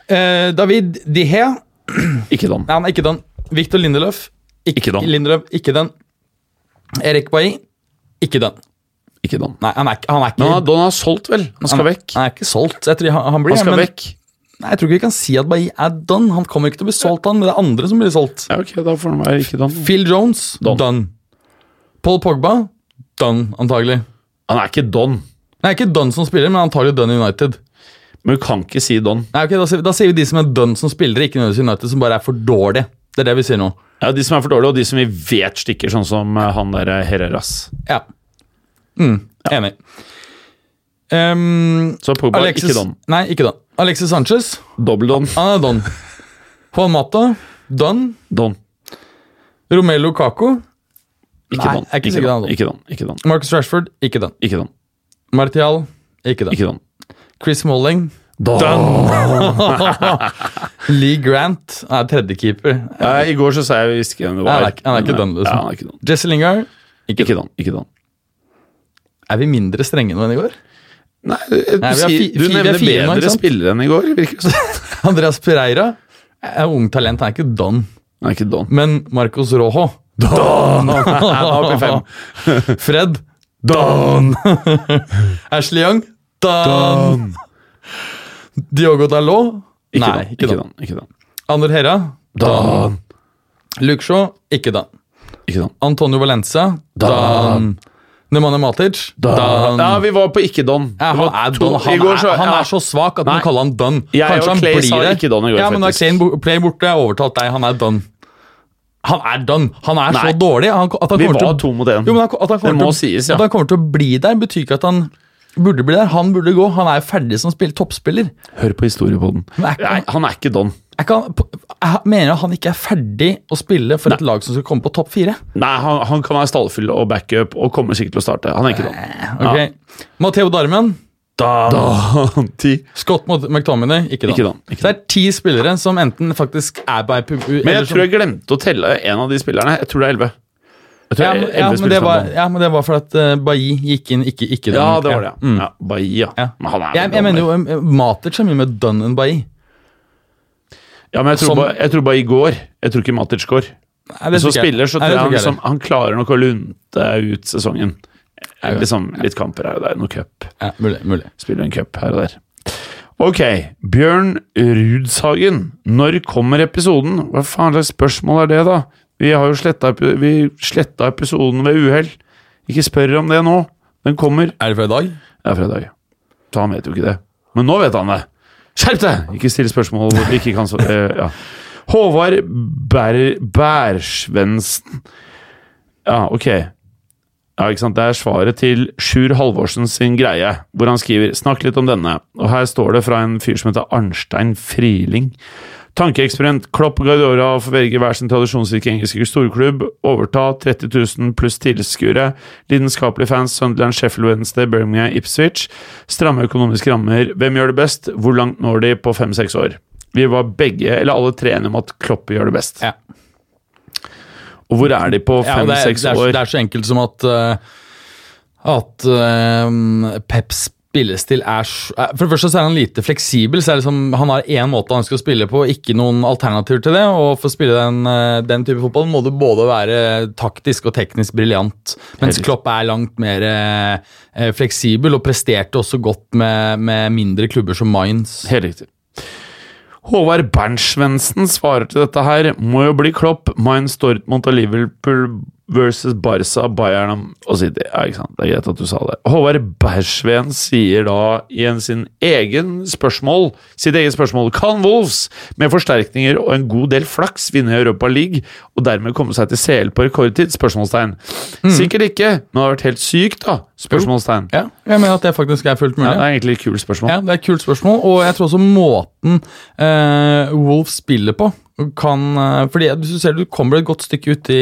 Speaker 3: Eh, David Dihe Nei,
Speaker 4: Ikke den.
Speaker 3: han er ikke den. Victor Lindeløf.
Speaker 4: Ikke den.
Speaker 3: Lindeløf, ikke den. Erik Bailly. Ikke den.
Speaker 4: Ikke den.
Speaker 3: Nei, han er, ikke- han er ikke
Speaker 4: Men han, Don har solgt, vel? Han skal
Speaker 3: han,
Speaker 4: vekk.
Speaker 3: Han er ikke solgt. Jeg tror han, han blir
Speaker 4: Han skal
Speaker 3: men,
Speaker 4: vekk.
Speaker 3: Nei, Jeg tror ikke vi kan si at Bailly er done. Han kommer ikke til å bli solgt, han, men det er andre som blir solgt.
Speaker 4: Ja, ok, da får han være ikke done.
Speaker 3: Phil Jones
Speaker 4: Done.
Speaker 3: done. Paul Pogba done, antagelig.
Speaker 4: Han er ikke don,
Speaker 3: Nei, ikke done som spiller, men antagelig done i United.
Speaker 4: men du kan ikke si don.
Speaker 3: Nei, ok, da, sier- da sier vi de som er done som spillere, ikke nødvendigvis United, som bare er for dårlige. Det er det vi sier nå.
Speaker 4: Ja, De som er for dårlige, og de som vi vet stikker, sånn som eh, han der eh, Herreras.
Speaker 3: Ja. Mm, Enig. Ehm,
Speaker 4: Så Pogba er ikke don.
Speaker 3: Nei, ikke don. Alexis Sanchez,
Speaker 4: Dobbel don.
Speaker 3: han er
Speaker 4: [laughs]
Speaker 3: don. Juan Mata, don.
Speaker 4: Don.
Speaker 3: Romelu Kako,
Speaker 4: Ikke
Speaker 3: Nei,
Speaker 4: don.
Speaker 3: jeg er ikke
Speaker 4: Ikke
Speaker 3: sikker
Speaker 4: don.
Speaker 3: han er
Speaker 4: Ikke don. Ikke don.
Speaker 3: Marcus Rashford, ikke don.
Speaker 4: Ikke don.
Speaker 3: Martial, ikke don.
Speaker 4: Ikke don.
Speaker 3: Chris Molling,
Speaker 4: Don.
Speaker 3: [laughs] Lee Grant han er tredjekeeper.
Speaker 4: Ja, I går så sa jeg visst ikke hvem det var.
Speaker 3: Han er ikke- han er ikke don, liksom.
Speaker 4: Ja, han er ikke don.
Speaker 3: Jesse Lingard,
Speaker 4: Ikke don. Ikke don.
Speaker 3: er vi mindre strenge nå enn i går? [laughs]
Speaker 4: Nei, du,
Speaker 3: Nei, vi har
Speaker 4: sier-
Speaker 3: fi-
Speaker 4: du
Speaker 3: fi- vi har
Speaker 4: nevner
Speaker 3: fire nå, ikke
Speaker 4: bedre
Speaker 3: sant?
Speaker 4: spillere enn i går, virker det som.
Speaker 3: Andreas Pereira er ung talent, han er ikke don.
Speaker 4: Han er ikke don.
Speaker 3: Men Marcos Rojo, [laughs] don!
Speaker 4: [laughs] Han er oppe i fem.
Speaker 3: [laughs] Fred, don! Ashley Young, don! Diogo Dalot,
Speaker 4: Ikke
Speaker 3: nei,
Speaker 4: don.
Speaker 3: ikke
Speaker 4: Ikke
Speaker 3: don.
Speaker 4: don. Ikke don.
Speaker 3: Ander Herra,
Speaker 4: Don.
Speaker 3: Luke Shaw, ikke don.
Speaker 4: Ikke don.
Speaker 3: Antonio Valencia, don. Nemanja Matic, don.
Speaker 4: Ja, vi var på ikke don.
Speaker 3: Ja,
Speaker 4: Det
Speaker 3: han,
Speaker 4: var
Speaker 3: er
Speaker 4: to-
Speaker 3: don.
Speaker 4: I
Speaker 3: Han,
Speaker 4: går
Speaker 3: er, han
Speaker 4: ja.
Speaker 3: er så svak at man
Speaker 4: Nei.
Speaker 3: kaller han don.
Speaker 4: Jeg og
Speaker 3: Kanskje han
Speaker 4: Clay
Speaker 3: blir
Speaker 4: sa
Speaker 3: det.
Speaker 4: ikke don i går,
Speaker 3: ja, men da
Speaker 4: faktisk.
Speaker 3: Kane bo- Play borte, jeg har overtalt deg. Han er don. Han er don. Han er
Speaker 4: Nei.
Speaker 3: så dårlig. Han, at han
Speaker 4: Vi
Speaker 3: kommer
Speaker 4: var
Speaker 3: til,
Speaker 4: to mot én.
Speaker 3: jo, men han, at, han
Speaker 4: Det må
Speaker 3: kommer til,
Speaker 4: sies, ja.
Speaker 3: at han kommer til å bli der, betyr ikke at han burde bli der. Han burde gå. Han er ferdig som spill, toppspiller.
Speaker 4: Hør på historiepodden.
Speaker 3: Men er ikke-
Speaker 4: Nei, han er ikke don.
Speaker 3: Er ikke han, på- jeg mener han ikke er ferdig å spille for et lag som skal komme på topp fire.
Speaker 4: Nei, han, han kan være stallfyll og backup og kommer sikkert til å starte. Han er ikke don.
Speaker 3: Ok. Matteo Darmian,
Speaker 4: Dan. Ti.
Speaker 3: Scott mot McTominay, ikke da.
Speaker 4: Ikke don. Ikke
Speaker 3: Så det
Speaker 4: don.
Speaker 3: er ti spillere som enten faktisk er på
Speaker 4: Men jeg tror jeg glemte å telle en av de spillerne. Jeg tror det er elleve. Jeg tror
Speaker 3: Ja,
Speaker 4: det er
Speaker 3: men,
Speaker 4: 11
Speaker 3: ja, men det
Speaker 4: spillere som
Speaker 3: var,
Speaker 4: er don.
Speaker 3: ja, men det var fordi at eh, Bailly gikk inn, ikke, ikke
Speaker 4: Ja,
Speaker 3: Dunn.
Speaker 4: det var det. ja. Ja, Bahia.
Speaker 3: Ja.
Speaker 4: Men han er
Speaker 3: Jeg,
Speaker 4: vel
Speaker 3: jeg
Speaker 4: don,
Speaker 3: mener
Speaker 4: vel?
Speaker 3: jo eh, Matic er mye mer Dunn enn Bailly.
Speaker 4: Ja, men jeg tror,
Speaker 3: Som-
Speaker 4: bare, jeg tror bare i går. Jeg tror ikke Matic går.
Speaker 3: Nei, det
Speaker 4: Så
Speaker 3: tror ikke jeg.
Speaker 4: spiller, så
Speaker 3: Nei,
Speaker 4: tror jeg han,
Speaker 3: det tror ikke jeg
Speaker 4: liksom, han klarer nok å lunte ut sesongen. Eh, Liksom litt kamper her og der, noe cup.
Speaker 3: heller. ja, mulig, mulig.
Speaker 4: Spiller en cup her og der. Ok, Bjørn Rudshagen. Når kommer episoden? Hva faen slags spørsmål er det, da? Vi har jo sletta, epi- vi sletta episoden ved uhell. Ikke spør om det nå. Den kommer.
Speaker 3: Er det fra i dag?
Speaker 4: Det er fredag. Så han vet jo ikke det. Men nå vet han det. Skjerp deg! Ikke still spørsmål hvor du ikke kan [laughs] svare. ja. Håvard Bær Bærsvensen. Ja, ok. Ja, ikke sant? Det er svaret til Sjur Halvorsen sin greie, hvor han skriver 'Snakk litt om denne'. Og her står det fra en fyr som heter Arnstein Friling. Tankeeksperiment. Klopp og Guardiola får velge hver sin tradisjonsrike engelske storklubb. Overta 30 000 pluss tilskuere. Lidenskapelige fans Sunderland, Sheffield Wednesday, Birmingham, Ipswich. Stramme økonomiske rammer. Hvem gjør det best? Hvor langt når de på fem-seks år? Vi var begge, eller alle tre, enige om at Klopp gjør det best.
Speaker 3: Ja.
Speaker 4: Og hvor er de på
Speaker 3: Ja, og det, er,
Speaker 4: fem-seks
Speaker 3: det, er,
Speaker 4: år?
Speaker 3: det er så enkelt som at eh, At eh, Peps spillestil er så- eh, For det første så er han lite fleksibel. Så er det liksom, han har én måte han skal spille på, ikke noen alternativer til det. Og for å spille den, eh, den type fotball må du både være taktisk og teknisk briljant.
Speaker 4: Helt
Speaker 3: Mens
Speaker 4: riktig.
Speaker 3: Klopp er langt mer eh, eh, fleksibel, og presterte også godt med, med mindre klubber som Mines.
Speaker 4: Helt riktig. Håvard Bernsvensen svarer til dette her. Må jo bli Klopp, Mainz, Dortmund og Liverpool versus Barca, Bayern og City. Ja, ikke sant? Det er greit at du sa det. Håvard Bersveen sier da i en sin egen spørsmål, sitt eget spørsmål Kan Wolves med forsterkninger og en god del flaks vinne Europa League og dermed komme seg til CL på rekordtid? Spørsmålstegn. Sikkert ikke, men det har vært helt sykt, da? Spørsmålstegn.
Speaker 3: Ja, jeg mener at det faktisk er fullt mulig.
Speaker 4: Ja, det er egentlig et kult spørsmål.
Speaker 3: Ja, det er et kult spørsmål, og jeg tror også måten eh, Wolf spiller på kan eh, Fordi hvis du ser du kommer et godt stykke ut i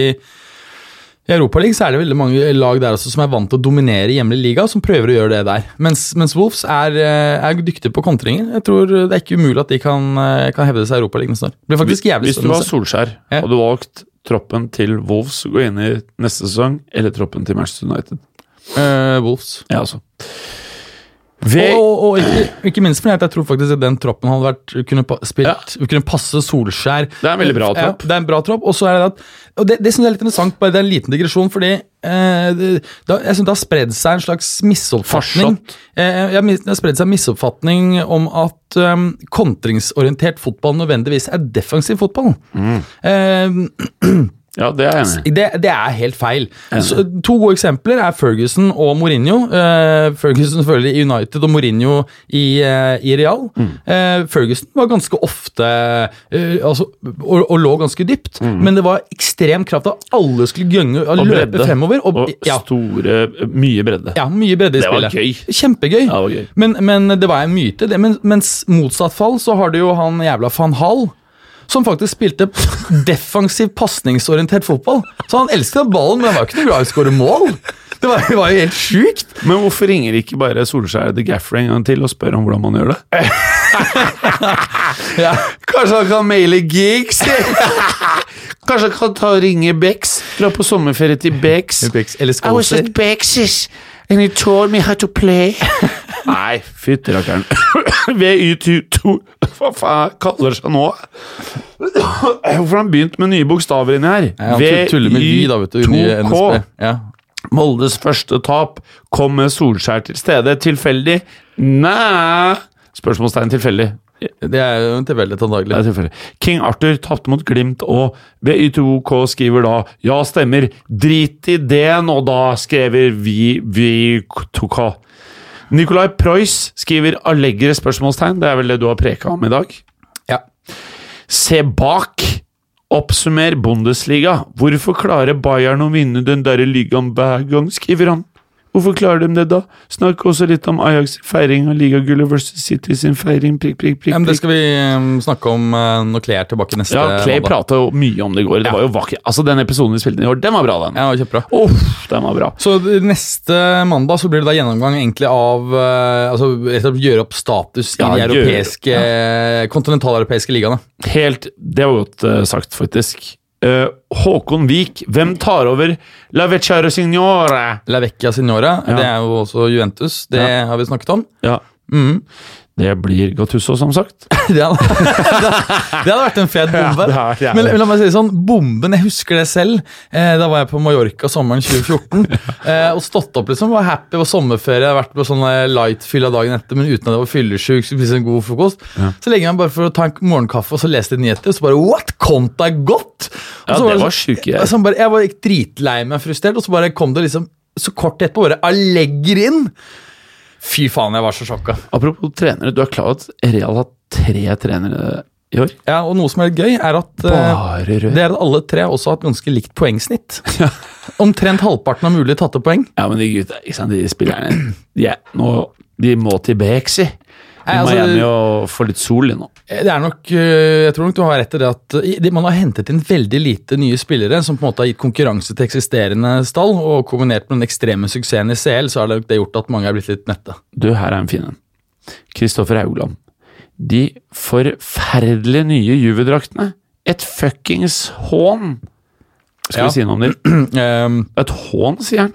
Speaker 3: i Europaligaen så er det veldig mange lag der også som er vant til å dominere i hjemlig liga, som prøver å gjøre det der. Mens, mens Wolves er, eh, er dyktige på kontringer. Jeg tror Det er ikke umulig at de kan, eh, kan hevde seg i Europaligaen snart. Det blir faktisk jævlig
Speaker 4: Hvis du
Speaker 3: spennende.
Speaker 4: var
Speaker 3: å se.
Speaker 4: Solskjær,
Speaker 3: Ja.
Speaker 4: hadde du valgt troppen til Wolves å gå inn i neste sesong, eller troppen til Manchester United?
Speaker 3: Eh, Wolves.
Speaker 4: Ja, altså. Ve-
Speaker 3: Og, og, og ikke, ikke minst fordi at jeg tror faktisk at den troppen hadde vært, kunne, pa- spilt, kunne passe Solskjær. Eh,
Speaker 4: Det er en veldig bra tropp.
Speaker 3: Ja, det er en bra tropp, og så er det at, og det, det synes jeg er litt interessant, bare det er en liten digresjon, fordi eh, det, da, jeg synes det har spredd seg en slags misoppfatning.
Speaker 4: Farsott.
Speaker 3: Eh, jeg mis- det har spredd seg en misoppfatning om at eh, kontringsorientert fotball nødvendigvis er defensiv fotball.
Speaker 4: Mm.
Speaker 3: Eh,
Speaker 4: Ja, det er jeg enig i.
Speaker 3: det, det er helt feil. Så, to gode eksempler er Ferguson og Mourinho. Eh, Ferguson selvfølgelig i United og Mourinho i, eh, i Real. Eh, Ferguson var ganske ofte eh, altså, og, og lå ganske dypt, men det var ekstrem kraft av alle skulle gønge Mm. og, løpe
Speaker 4: bredde.
Speaker 3: fremover. Og,
Speaker 4: Og
Speaker 3: ja,
Speaker 4: store, mye bredde.
Speaker 3: ja, mye bredde i
Speaker 4: Det var
Speaker 3: spillet.
Speaker 4: gøy.
Speaker 3: Kjempegøy.
Speaker 4: Ja, det var gøy.
Speaker 3: Men, men det var en myte. Det. Men, mens motsatt fall så har du jo han jævla van Hall. Som faktisk spilte defensiv pasningsorientert fotball. Så han elska ballen, men han var jo ikke noe glad i å skåre mål. Det var, det var jo helt sjukt.
Speaker 4: Men hvorfor ringer ikke bare Solskjær The Gaffer en gang til og spør om hvordan man gjør
Speaker 3: [laughs]
Speaker 4: det?
Speaker 3: Ja.
Speaker 4: Kanskje han kan maile gigs? Kanskje han kan ta og ringe Bex? Dra på sommerferie til Bex?
Speaker 3: Eller Scholzer.
Speaker 4: Bex's, and he told me how to play. [laughs] Nei, fytti rakkeren. [coughs] VY22 Hva faen kaller det seg nå? [coughs] Hvorfor har han begynt med nye bokstaver inni her?
Speaker 3: Ja, han tuller med de, da, vet du. Nye NSB. Ja.
Speaker 4: Moldes første tap. Kom med Solskjær til stede. Tilfeldig? Nei Spørsmålstegn tilfeldig.
Speaker 3: Det er jo en tilfeldighet,
Speaker 4: Det
Speaker 3: antagelig.
Speaker 4: er tilfeldig. King Arthur tapte mot Glimt, og VY2K skriver da Ja, stemmer. Drit i det nå, da, skriver vi VY2K. Nicolai Preuss skriver allegre spørsmålstegn. Det er vel det du har preka om i dag?
Speaker 3: Ja.
Speaker 4: Se bak! Oppsummer Bundesliga. Hvorfor klarer Bayern å vinne den derre ligaen hver gang, skriver han. Hvorfor klarer de det, da? Snakk også litt om Ajax' feiring av ligagullet versus City sin feiring, prikk, prikk, prikk.
Speaker 3: Ja, men
Speaker 4: prikk.
Speaker 3: det skal vi eh, snakke om eh, når Clay er tilbake neste
Speaker 4: Ja, Clay
Speaker 3: mandag.
Speaker 4: prata jo mye om det i går. Det var jo vakkert. Altså, Den episoden vi spilte inn i år, den var bra, den.
Speaker 3: Ja, kjempebra.
Speaker 4: Uff, den var bra.
Speaker 3: Så d- neste mandag så blir det da gjennomgang egentlig av eh, altså, rett og slett Gjøre opp status
Speaker 4: Ja,
Speaker 3: i de
Speaker 4: gjøre-
Speaker 3: europeiske, kontinentaleuropeiske ligaene.
Speaker 4: Helt Det var godt eh, sagt, faktisk. Eh, Håkon Vik, hvem tar over La Vecchiare Signore?
Speaker 3: La Vecchia Signora,
Speaker 4: Ja.
Speaker 3: det er jo også Juventus. Det
Speaker 4: Ja.
Speaker 3: har vi snakket om.
Speaker 4: Ja.
Speaker 3: Mhm.
Speaker 4: Mm. Det blir Gattusso, som sagt.
Speaker 3: [laughs] Det hadde, det hadde vært en fet bombe.
Speaker 4: det hadde vært jævlig.
Speaker 3: men, men la meg si det sånn, bomben, jeg husker det selv. Eh, da var jeg på Mallorca sommeren
Speaker 4: [laughs]
Speaker 3: 2014. eh, og stått opp, liksom. Var happy, var sommerferie, vært på sånn eh, light-fyll av dagen etter, men uten at jeg var fyllesyk. skulle spise en god frokost. Så legger jeg meg bare for å ta en morgenkaffe og så lese litt nyheter, og så bare What? Konta er godt! Og
Speaker 4: Ja,
Speaker 3: så
Speaker 4: det var
Speaker 3: sånn-
Speaker 4: sjuke greier.
Speaker 3: så bare, jeg var dritlei meg frustrert, og så bare kom det liksom så kort etterpå, bare Allegger inn! Fy faen, jeg var så sjokka.
Speaker 4: Apropos trenere, du er klar over at Real har tre trenere i år?
Speaker 3: Ja, og noe som er litt gøy, er at eh,
Speaker 4: Bare rød.
Speaker 3: Det er at alle tre også har et ganske likt poengsnitt. Omtrent halvparten av mulige tatte poeng.
Speaker 4: Ja, men de gutta, ikke sant, de spillerne de, er- nå, de må til Bexi. De
Speaker 3: Nei,
Speaker 4: må
Speaker 3: altså-
Speaker 4: hjem og få litt sol nå.
Speaker 3: Eh, Det er nok, øh, Jeg tror nok du har rett i det at øh, i- man har hentet inn veldig lite nye spillere som på en måte har gitt konkurranse til eksisterende stall, og kombinert med den ekstreme suksessen i CL, så har det det gjort at mange er blitt litt nette.
Speaker 4: Du, her er en fin en. Kristoffer Haugland. De forferdelige nye Juve-draktene. Et fuckings hån! Skal
Speaker 3: Ja.
Speaker 4: vi si noe om det?
Speaker 3: Ehm,
Speaker 4: Et hån, sier han.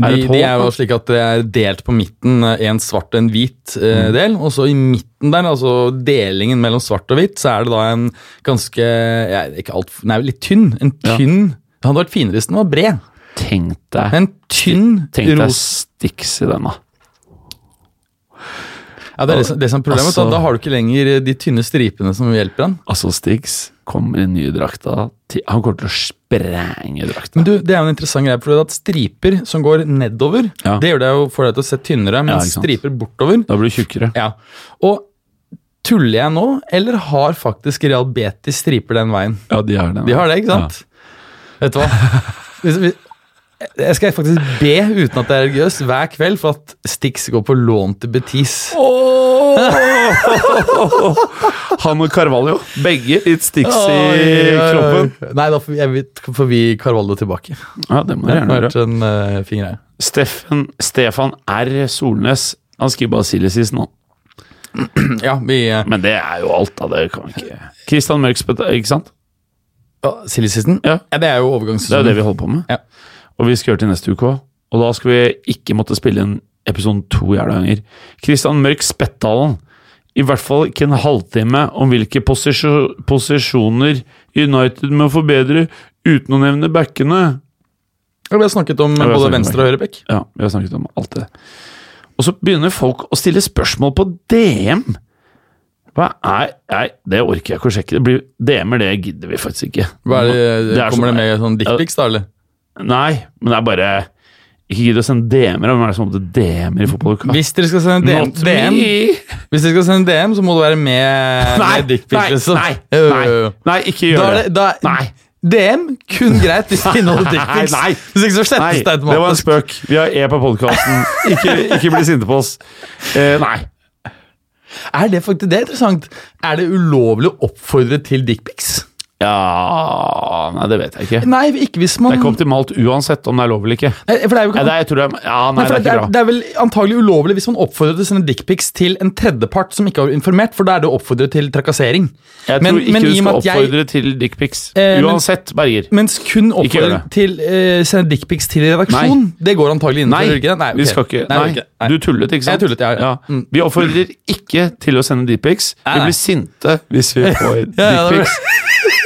Speaker 4: Er det
Speaker 3: de,
Speaker 4: et
Speaker 3: de er jo
Speaker 4: hån?
Speaker 3: slik at det er delt på midten, øh, en svart og en hvit øh, del, og så i midten der, altså delingen mellom svart og hvitt, så er det da en ganske ja, ikke alt, Nei, litt tynn. En
Speaker 4: Ja.
Speaker 3: tynn Det hadde vært finere hvis den var bred.
Speaker 4: da? Tenk deg,
Speaker 3: En tynn
Speaker 4: tenk deg
Speaker 3: ros.
Speaker 4: Stix i den, da.
Speaker 3: Ja, det er det som, det som er problemet.
Speaker 4: Altså-
Speaker 3: da, da har du ikke lenger eh, de tynne stripene som hjelper den.
Speaker 4: Altså, Stix kommer i den nye drakta til Han kommer til å sprenge drakta.
Speaker 3: Men du, det er jo en interessant greie, for at striper som går nedover,
Speaker 4: Ja.
Speaker 3: det gjør deg jo, får deg til å se tynnere,
Speaker 4: Ja,
Speaker 3: mens
Speaker 4: ikke sant.
Speaker 3: striper bortover
Speaker 4: Da blir du tjukkere.
Speaker 3: Ja. Og tuller jeg nå, eller har faktisk Real Betis striper den veien?
Speaker 4: Ja, de har det.
Speaker 3: De har det, ikke sant? Vet du hva? Hvis vi- Jeg skal faktisk be, uten at det er religiøst, hver kveld for at Stix går på lån til Betis.
Speaker 4: [laughs] Han og Carvalho, begge litt Stix
Speaker 3: Oi,
Speaker 4: i
Speaker 3: oi, oi.
Speaker 4: kroppen.
Speaker 3: Nei, da får vi, jeg vet, får vi Carvalho tilbake. Det
Speaker 4: Ja, det må du gjerne gjøre.
Speaker 3: har vært en eh, fin greie.
Speaker 4: Steffen, Stefan R. Solnes. Han skriver bare Siljesisen, han.
Speaker 3: Ja, vi eh,
Speaker 4: Men det er jo alt, da. Det kan vi ikke Kristian Mørksbøtt, ikke sant?
Speaker 3: ja, Silly season?
Speaker 4: Ja.
Speaker 3: ja, det er jo
Speaker 4: Det er jo det
Speaker 3: overgangssesongen.
Speaker 4: vi holder på med.
Speaker 3: Ja.
Speaker 4: Og vi skal gjøre til neste uke òg. Og da skal vi ikke måtte spille inn episoden to jævla ganger. Kristian Mørk Spettdalen. I hvert fall ikke en halvtime om hvilke posisjo- posisjoner United må forbedre uten å nevne backene.
Speaker 3: Vi har snakket om
Speaker 4: vi har snakket
Speaker 3: både
Speaker 4: om
Speaker 3: venstre- og høyrebekk.
Speaker 4: Ja, vi har snakket om alt det. Og så begynner folk å stille spørsmål på DM. Hva er Nei, det orker jeg ikke å sjekke. Det blir DM-er, det gidder vi faktisk ikke.
Speaker 3: Hva er det, eh,
Speaker 4: Det er
Speaker 3: kommer
Speaker 4: sånn-
Speaker 3: det med sånn dickpics, da? eller?
Speaker 4: Nei, men det er bare Ikke gidd å sende DM-er. Hvem er det som måtte DM-er i fotballuka?
Speaker 3: Hvis dere skal sende DM,
Speaker 4: Not me!
Speaker 3: Hvis dere skal sende DM, så må du være med,
Speaker 4: Nei,
Speaker 3: med dickpics.
Speaker 4: nei,
Speaker 3: liksom.
Speaker 4: nei,
Speaker 3: Jo, jo,
Speaker 4: nei,
Speaker 3: jo.
Speaker 4: nei, ikke
Speaker 3: Da
Speaker 4: gjør
Speaker 3: er
Speaker 4: det.
Speaker 3: det, da,
Speaker 4: Nei.
Speaker 3: DM kun greit hvis det inneholder dickpics.
Speaker 4: [laughs] Nei, nei.
Speaker 3: Hvis ikke så
Speaker 4: Nei,
Speaker 3: slettes det
Speaker 4: det var en
Speaker 3: automatisk.
Speaker 4: spøk. Vi har E på podkasten. Ikke, ikke bli sinte på oss. Eh, nei.
Speaker 3: Er det faktisk det er interessant? Er det ulovlig å oppfordre til dickpics?
Speaker 4: Ja Nei, det vet jeg ikke.
Speaker 3: Nei, ikke hvis
Speaker 4: Det
Speaker 3: man
Speaker 4: er ikke optimalt uansett om det er lov eller ikke.
Speaker 3: Nei, for det er jo
Speaker 4: Ja,
Speaker 3: ikke
Speaker 4: det er, jeg tror det er, ja, nei,
Speaker 3: Nei, for
Speaker 4: det er
Speaker 3: det,
Speaker 4: ikke
Speaker 3: er,
Speaker 4: bra.
Speaker 3: det er vel antagelig ulovlig hvis man oppfordrer til å sende dickpics til en tredjepart som ikke har informert, for da er det å oppfordre til trakassering.
Speaker 4: Jeg
Speaker 3: men-
Speaker 4: tror ikke
Speaker 3: men i
Speaker 4: du
Speaker 3: og med
Speaker 4: skal
Speaker 3: at jeg-
Speaker 4: oppfordre til dickpics.
Speaker 3: Eh, men-
Speaker 4: Uansett, Berger.
Speaker 3: Mens kun oppfordring
Speaker 4: gjør det.
Speaker 3: til eh, sende dickpics til redaksjon, det går
Speaker 4: Nei,
Speaker 3: antagelig innenfor gjør det ikke det?
Speaker 4: vi
Speaker 3: ok.
Speaker 4: skal ikke
Speaker 3: Nei,
Speaker 4: Nei,
Speaker 3: ok. Nei.
Speaker 4: du tullet, ikke sant?
Speaker 3: Jeg tullet, ja, ja. Mm.
Speaker 4: Vi oppfordrer ikke til å sende dickpics.
Speaker 3: Nei,
Speaker 4: Vi
Speaker 3: nei.
Speaker 4: blir sinte hvis vi får
Speaker 3: [laughs] ja, det-
Speaker 4: dickpics.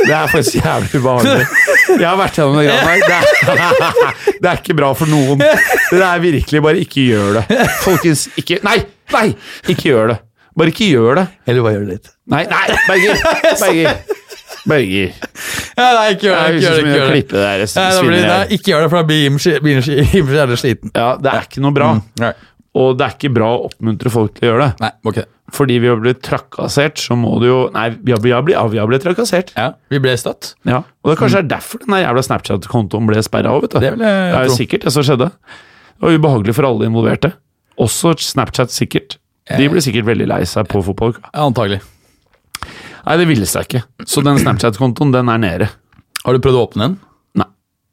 Speaker 4: Det er faktisk jævlig ubehagelig. Jeg har vært gjennom det greiene her. Det, er- [laughs] det er ikke bra for noen. Det er virkelig Bare ikke gjør det. Folkens, ikke Nei! Nei! Ikke gjør det. Bare ikke gjør det.
Speaker 3: Eller bare gjør det litt.
Speaker 4: Nei, nei,
Speaker 3: [laughs]
Speaker 4: Berger! Berger. Berger.
Speaker 3: Ja, [laughs] nei, ikke gjør det.
Speaker 4: Jeg
Speaker 3: Ikke gjør det, ikke
Speaker 4: vil
Speaker 3: gjør det.
Speaker 4: klippe det der.
Speaker 3: Nei, da blir,
Speaker 4: svineriet.
Speaker 3: nei, ikke gjør det, for da blir Jim ski- begynner ski- Jim Skjære sliten.
Speaker 4: Ja, det er ikke noe bra.
Speaker 3: Nei,
Speaker 4: Og det er ikke bra å oppmuntre folk til å gjøre det.
Speaker 3: Mm. nei, må ikke det.
Speaker 4: fordi vi har blitt trakassert, så må du jo Nei, vi har, vi har, blitt, ja, vi har blitt trakassert.
Speaker 3: Ja, vi ble støtt.
Speaker 4: Ja. Og det kanskje er derfor den der jævla Snapchat-kontoen ble sperra av. vet du.
Speaker 3: Mm. Det vil jeg
Speaker 4: er
Speaker 3: tro.
Speaker 4: jo sikkert det som skjedde. Det var ubehagelig for alle involverte. Også Snapchat, sikkert.
Speaker 3: Eh.
Speaker 4: De ble sikkert veldig lei seg på fotballuka.
Speaker 3: Ja, antagelig.
Speaker 4: Nei, det ville seg ikke. Så den Snapchat-kontoen, den er nede.
Speaker 3: Har du prøvd å åpne den?
Speaker 4: Nei.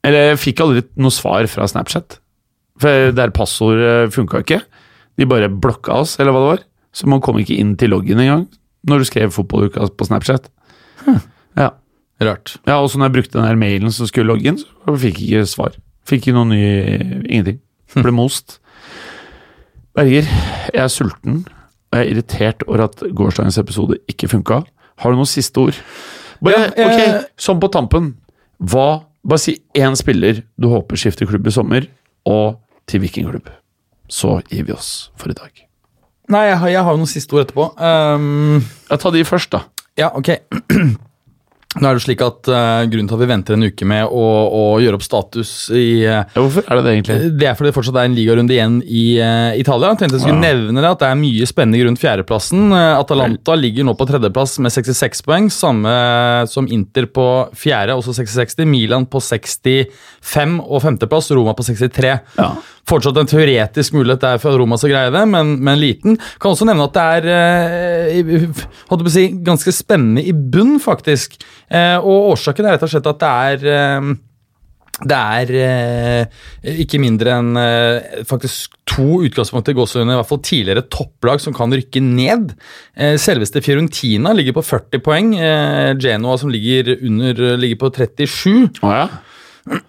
Speaker 4: Eller jeg fikk aldri noe svar fra Snapchat. For der passordet funka ikke. De bare blokka oss, eller hva det var. Så man kom ikke inn til loggen engang når du skrev fotballuka på Snapchat. Ja.
Speaker 3: Rart.
Speaker 4: ja, og så når jeg brukte den her mailen som skulle logge inn, så fikk jeg ikke svar. Fikk ikke noe ny Ingenting.
Speaker 3: [laughs]
Speaker 4: Ble most. Berger, jeg er sulten. Og jeg er irritert over at gårsdagens episode ikke funka. Har du noen siste ord? Bare,
Speaker 3: Ja, eh,
Speaker 4: ok, Sånn på tampen. Hva, bare si én spiller du håper skifter klubb i sommer, og til hvilken klubb. Så gir vi oss for i dag.
Speaker 3: Nei, jeg har, jeg har jo noen siste ord etterpå. Ehm,
Speaker 4: Ja, Ta de først, da.
Speaker 3: Ja, ok. [clears throat] Nå er det slik at eh, Grunnen til at vi venter en uke med å, å gjøre opp status i eh,
Speaker 4: Ja, hvorfor er det det, egentlig?
Speaker 3: Det er fordi det fortsatt er en ligarunde igjen i eh, Italia. Jeg tenkte jeg skulle nevne det at det er mye spennende rundt fjerdeplassen. Eh, Atalanta ligger nå på tredjeplass med 66 poeng, samme eh, som Inter på fjerde, også 66. Milan på 65 og femteplass, Roma på 63.
Speaker 4: Ja.
Speaker 3: Fortsatt en teoretisk mulighet der for at Roma skal greie det, men, men liten. Kan også nevne at det er eh, i- holdt jeg på å si, ganske spennende i bunn, faktisk. Eh, og årsaken er rett og slett at det er eh, det er eh, ikke mindre enn eh, faktisk to utgangspunkter i gåsehudene, i hvert fall tidligere topplag som kan rykke ned. Eh, selveste Fiorentina ligger på 40 poeng. Eh, Genoa som ligger under, eh, ligger på 37.
Speaker 4: Å ja?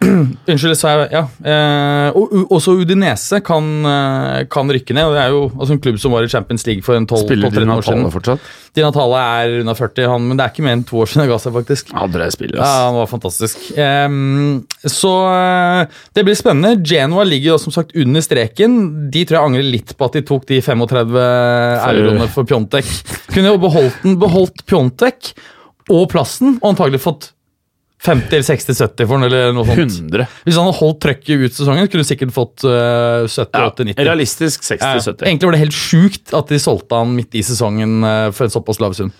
Speaker 3: Unnskyld, sa jeg ja. Eh, og u- også Udinese kan, eh, kan rykke ned. og Det er jo altså en klubb som var i Champions League for en 12
Speaker 4: Spiller de
Speaker 3: 12-13 år siden.
Speaker 4: Natale fortsatt?
Speaker 3: Di Natale er unna 40, han, men det er ikke mer enn to år siden han ga seg, faktisk.
Speaker 4: Andre spillere,
Speaker 3: Ja,
Speaker 4: ass.
Speaker 3: han var fantastisk. Ehm, så eh, det blir spennende. Genoa ligger jo som sagt under streken. De tror jeg angrer litt på at de tok de 35 euroene for Pjontek. Kunne jo beholdt den, beholdt Pjontek og plassen, og antagelig fått 50 eller 60-70 for den, eller noe sånt.
Speaker 4: 100.
Speaker 3: Hvis han hadde holdt trøkket ut sesongen, kunne du sikkert fått eh, 70-80-90.
Speaker 4: Realistisk
Speaker 3: Ja, ja.
Speaker 4: 60-70.
Speaker 3: Egentlig var det helt sjukt at de solgte han midt i sesongen eh, for en såpass lav sum.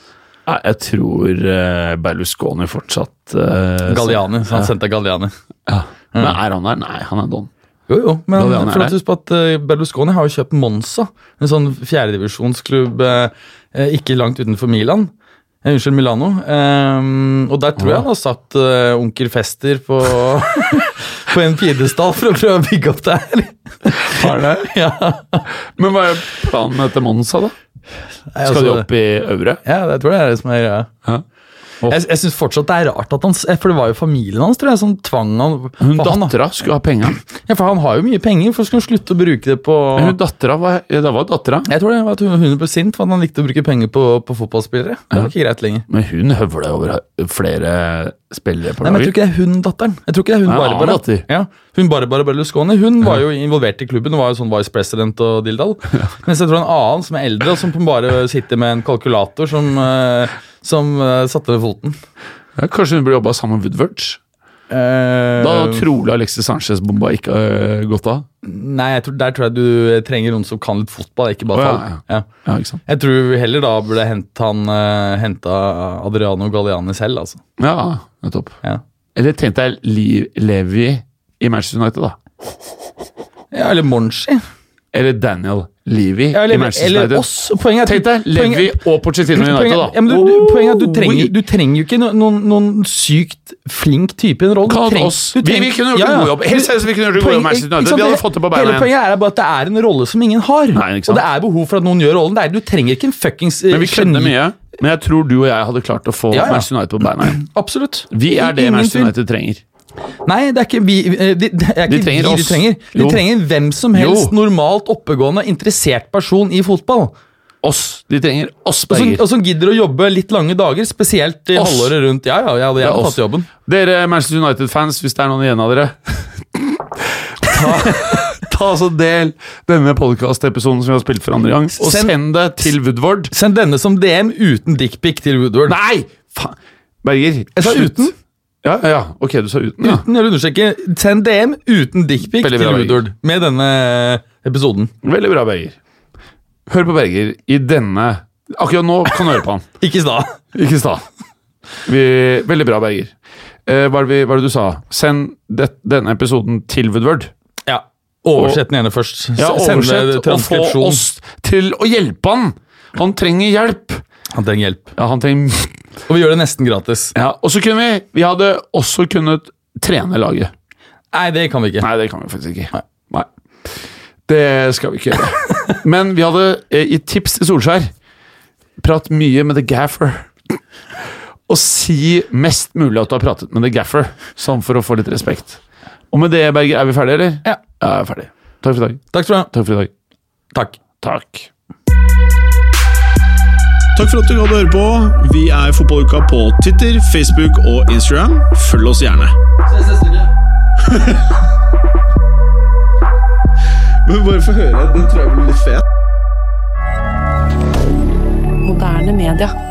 Speaker 4: Ja, jeg tror eh, Berlusconi fortsatt eh, Mm.
Speaker 3: Galliani, så han
Speaker 4: Ja.
Speaker 3: sendte Galliani.
Speaker 4: Men er han der? Nei, han er don.
Speaker 3: Jo, jo, men
Speaker 4: Galliani er
Speaker 3: for at
Speaker 4: der.
Speaker 3: husk på at eh, Berlusconi har jo kjøpt Monza, en sånn fjerdedivisjonsklubb eh, eh, ikke langt utenfor Milan. Eh, unnskyld, Milano. Eh, og der tror jeg han har satt eh, onkel Fester på, [laughs] på en pidestall for å prøve å bygge opp det her.
Speaker 4: [laughs]
Speaker 3: ja,
Speaker 4: Men hva er planen etter Monza, da? Skal de opp i øvre?
Speaker 3: Ja, det tror jeg er det som er greia.
Speaker 4: altså- Ja.
Speaker 3: Jeg, jeg syns fortsatt det er rart at han s- eh, For det var jo familien hans tror jeg, som tvang han.
Speaker 4: Hun
Speaker 3: for han,
Speaker 4: dattera skulle ha penga.
Speaker 3: ja, for han har jo mye penger, for skal han slutte å bruke det på
Speaker 4: Men hun dattera var ja, Det var dattera.
Speaker 3: Jeg tror det var at hun hun ble sint for at han likte å bruke penger på, på fotballspillere. Det var ikke greit lenger.
Speaker 4: Men hun høvla over flere spillere på
Speaker 3: Nei, men
Speaker 4: laget.
Speaker 3: Jeg tror ikke det er hun datteren. Jeg tror ikke det er
Speaker 4: Nei,
Speaker 3: Hun
Speaker 4: en annen
Speaker 3: Barbara
Speaker 4: datter.
Speaker 3: Ja, hun Barbara Berlusconi Hun var jo involvert i klubben og var jo sånn vice president og
Speaker 4: [laughs]
Speaker 3: dilldall. Mens jeg tror en annen som er eldre, og som bare sitter med en kalkulator som, eh, som eh, satte ned foten.
Speaker 4: Ja, kanskje hun burde jobba sammen med Woodward.
Speaker 3: Eh,
Speaker 4: Da hadde trolig Alexis Sanchez-bomba ikke øh, gått av.
Speaker 3: Nei, jeg tror, der tror jeg du trenger noen som kan litt fotball, ikke
Speaker 4: Å,
Speaker 3: bare
Speaker 4: ja,
Speaker 3: tall. Ja,
Speaker 4: Ja, ikke sant?
Speaker 3: Jeg tror heller da burde hente han eh, henta Adriano Galliani selv, altså.
Speaker 4: Ja, nettopp.
Speaker 3: Ja.
Speaker 4: Eller tenkte jeg Liv, Levi i Manchester United, da.
Speaker 3: Ja, eller Monchi.
Speaker 4: Eller Daniel Levi
Speaker 3: Ja,
Speaker 4: i
Speaker 3: eller,
Speaker 4: Manchester
Speaker 3: eller
Speaker 4: United.
Speaker 3: oss. Poenget er
Speaker 4: Tenk deg
Speaker 3: at du-
Speaker 4: Levi
Speaker 3: poenget-
Speaker 4: og Pochettino i United, da. Oh,
Speaker 3: Poenget, ja, men du, du, poenget er at du
Speaker 4: Oi.
Speaker 3: trenger, du trenger jo ikke no- noen, noen sykt flink type i en rolle. Du
Speaker 4: Kall det
Speaker 3: trenger-
Speaker 4: oss.
Speaker 3: du
Speaker 4: Vi-
Speaker 3: trenger-
Speaker 4: vi kunne gjort en god jobb. Helt seriøst, vi kunne gjort en god jobb i Manchester
Speaker 3: ikke
Speaker 4: United.
Speaker 3: sant,
Speaker 4: Vi hadde fått det på beina
Speaker 3: Hele
Speaker 4: igjen.
Speaker 3: poenget er bare at det er en rolle som ingen har.
Speaker 4: Nei, ikke sant.
Speaker 3: og det er behov for at noen gjør rollen. Det er, du trenger ikke en fuckings eh,
Speaker 4: Men vi kødder mye. Men jeg tror du og jeg hadde klart å få
Speaker 3: Ja, ja.
Speaker 4: Manchester United på beina igjen.
Speaker 3: Absolutt.
Speaker 4: Vi er det
Speaker 3: Ingen
Speaker 4: Manchester
Speaker 3: tvil.
Speaker 4: United trenger.
Speaker 3: Nei, det er ikke vi eh, de, det er ikke
Speaker 4: De trenger
Speaker 3: vi
Speaker 4: oss.
Speaker 3: De trenger, de
Speaker 4: Jo.
Speaker 3: trenger hvem som helst
Speaker 4: Jo.
Speaker 3: normalt oppegående, interessert person i fotball.
Speaker 4: Oss. De trenger oss,
Speaker 3: Og som,
Speaker 4: Berger.
Speaker 3: og som gidder å jobbe litt lange dager, spesielt i
Speaker 4: Oss.
Speaker 3: halvåret rundt. Ja, ja, ja, jeg
Speaker 4: Det er
Speaker 3: hadde
Speaker 4: oss.
Speaker 3: tatt jobben.
Speaker 4: Dere Manchester United-fans, hvis det er noen igjen av dere Ta, ta så del denne podcast-episoden som vi har spilt for andre gang, og
Speaker 3: Send-
Speaker 4: send det til Woodward.
Speaker 3: Send denne som DM uten dickpic til Woodward.
Speaker 4: Nei! Faen! Berger.
Speaker 3: Jeg sa
Speaker 4: slutt.
Speaker 3: uten.
Speaker 4: Ja, ja, ja. Ok, du sa uten, ja.
Speaker 3: Uten, jeg vil understreke, Send DM uten dickpic
Speaker 4: Veldig
Speaker 3: til
Speaker 4: bra, Jørgen.
Speaker 3: Woodward med denne episoden.
Speaker 4: Veldig bra, Berger. Hør på Berger i denne Akkurat nå kan du høre på han.
Speaker 3: Ikke i stad.
Speaker 4: [laughs] Ikke i stad. Vi- Veldig bra, Berger. Eh, hva, er det vi, hva er det du sa? Send det, denne episoden til Woodward.
Speaker 3: Ja. Oversett den ene først. S-
Speaker 4: Ja,
Speaker 3: Sende
Speaker 4: oversett og få
Speaker 3: transkripsjon.
Speaker 4: oss til å hjelpe han. Han trenger hjelp.
Speaker 3: Han trenger hjelp.
Speaker 4: Ja, han trenger...
Speaker 3: Og vi gjør det nesten gratis.
Speaker 4: Ja, og så kunne vi... Vi hadde også kunnet trene laget.
Speaker 3: Nei, det kan vi ikke.
Speaker 4: Nei, det kan vi faktisk ikke. Nei. Det skal vi ikke gjøre. [laughs] Men vi hadde eh, i tips til Solskjær prat mye med The Gaffer. Og si mest mulig at du har pratet med The Gaffer, sånn for å få litt respekt. Og med det, Berger, er vi ferdige, eller?
Speaker 3: Ja.
Speaker 4: Ja, vi er ferdige. Takk for i dag.
Speaker 3: Takk skal du ha.
Speaker 4: Takk for i dag.
Speaker 3: Takk.
Speaker 4: Takk.
Speaker 1: Takk for at du gikk og hørte på. Vi er Fotballuka på Twitter, Facebook og Instagram. Følg oss gjerne.
Speaker 2: Ses neste uke.
Speaker 1: Men bare få høre. Den tror jeg blir litt fet.
Speaker 5: Moderne media.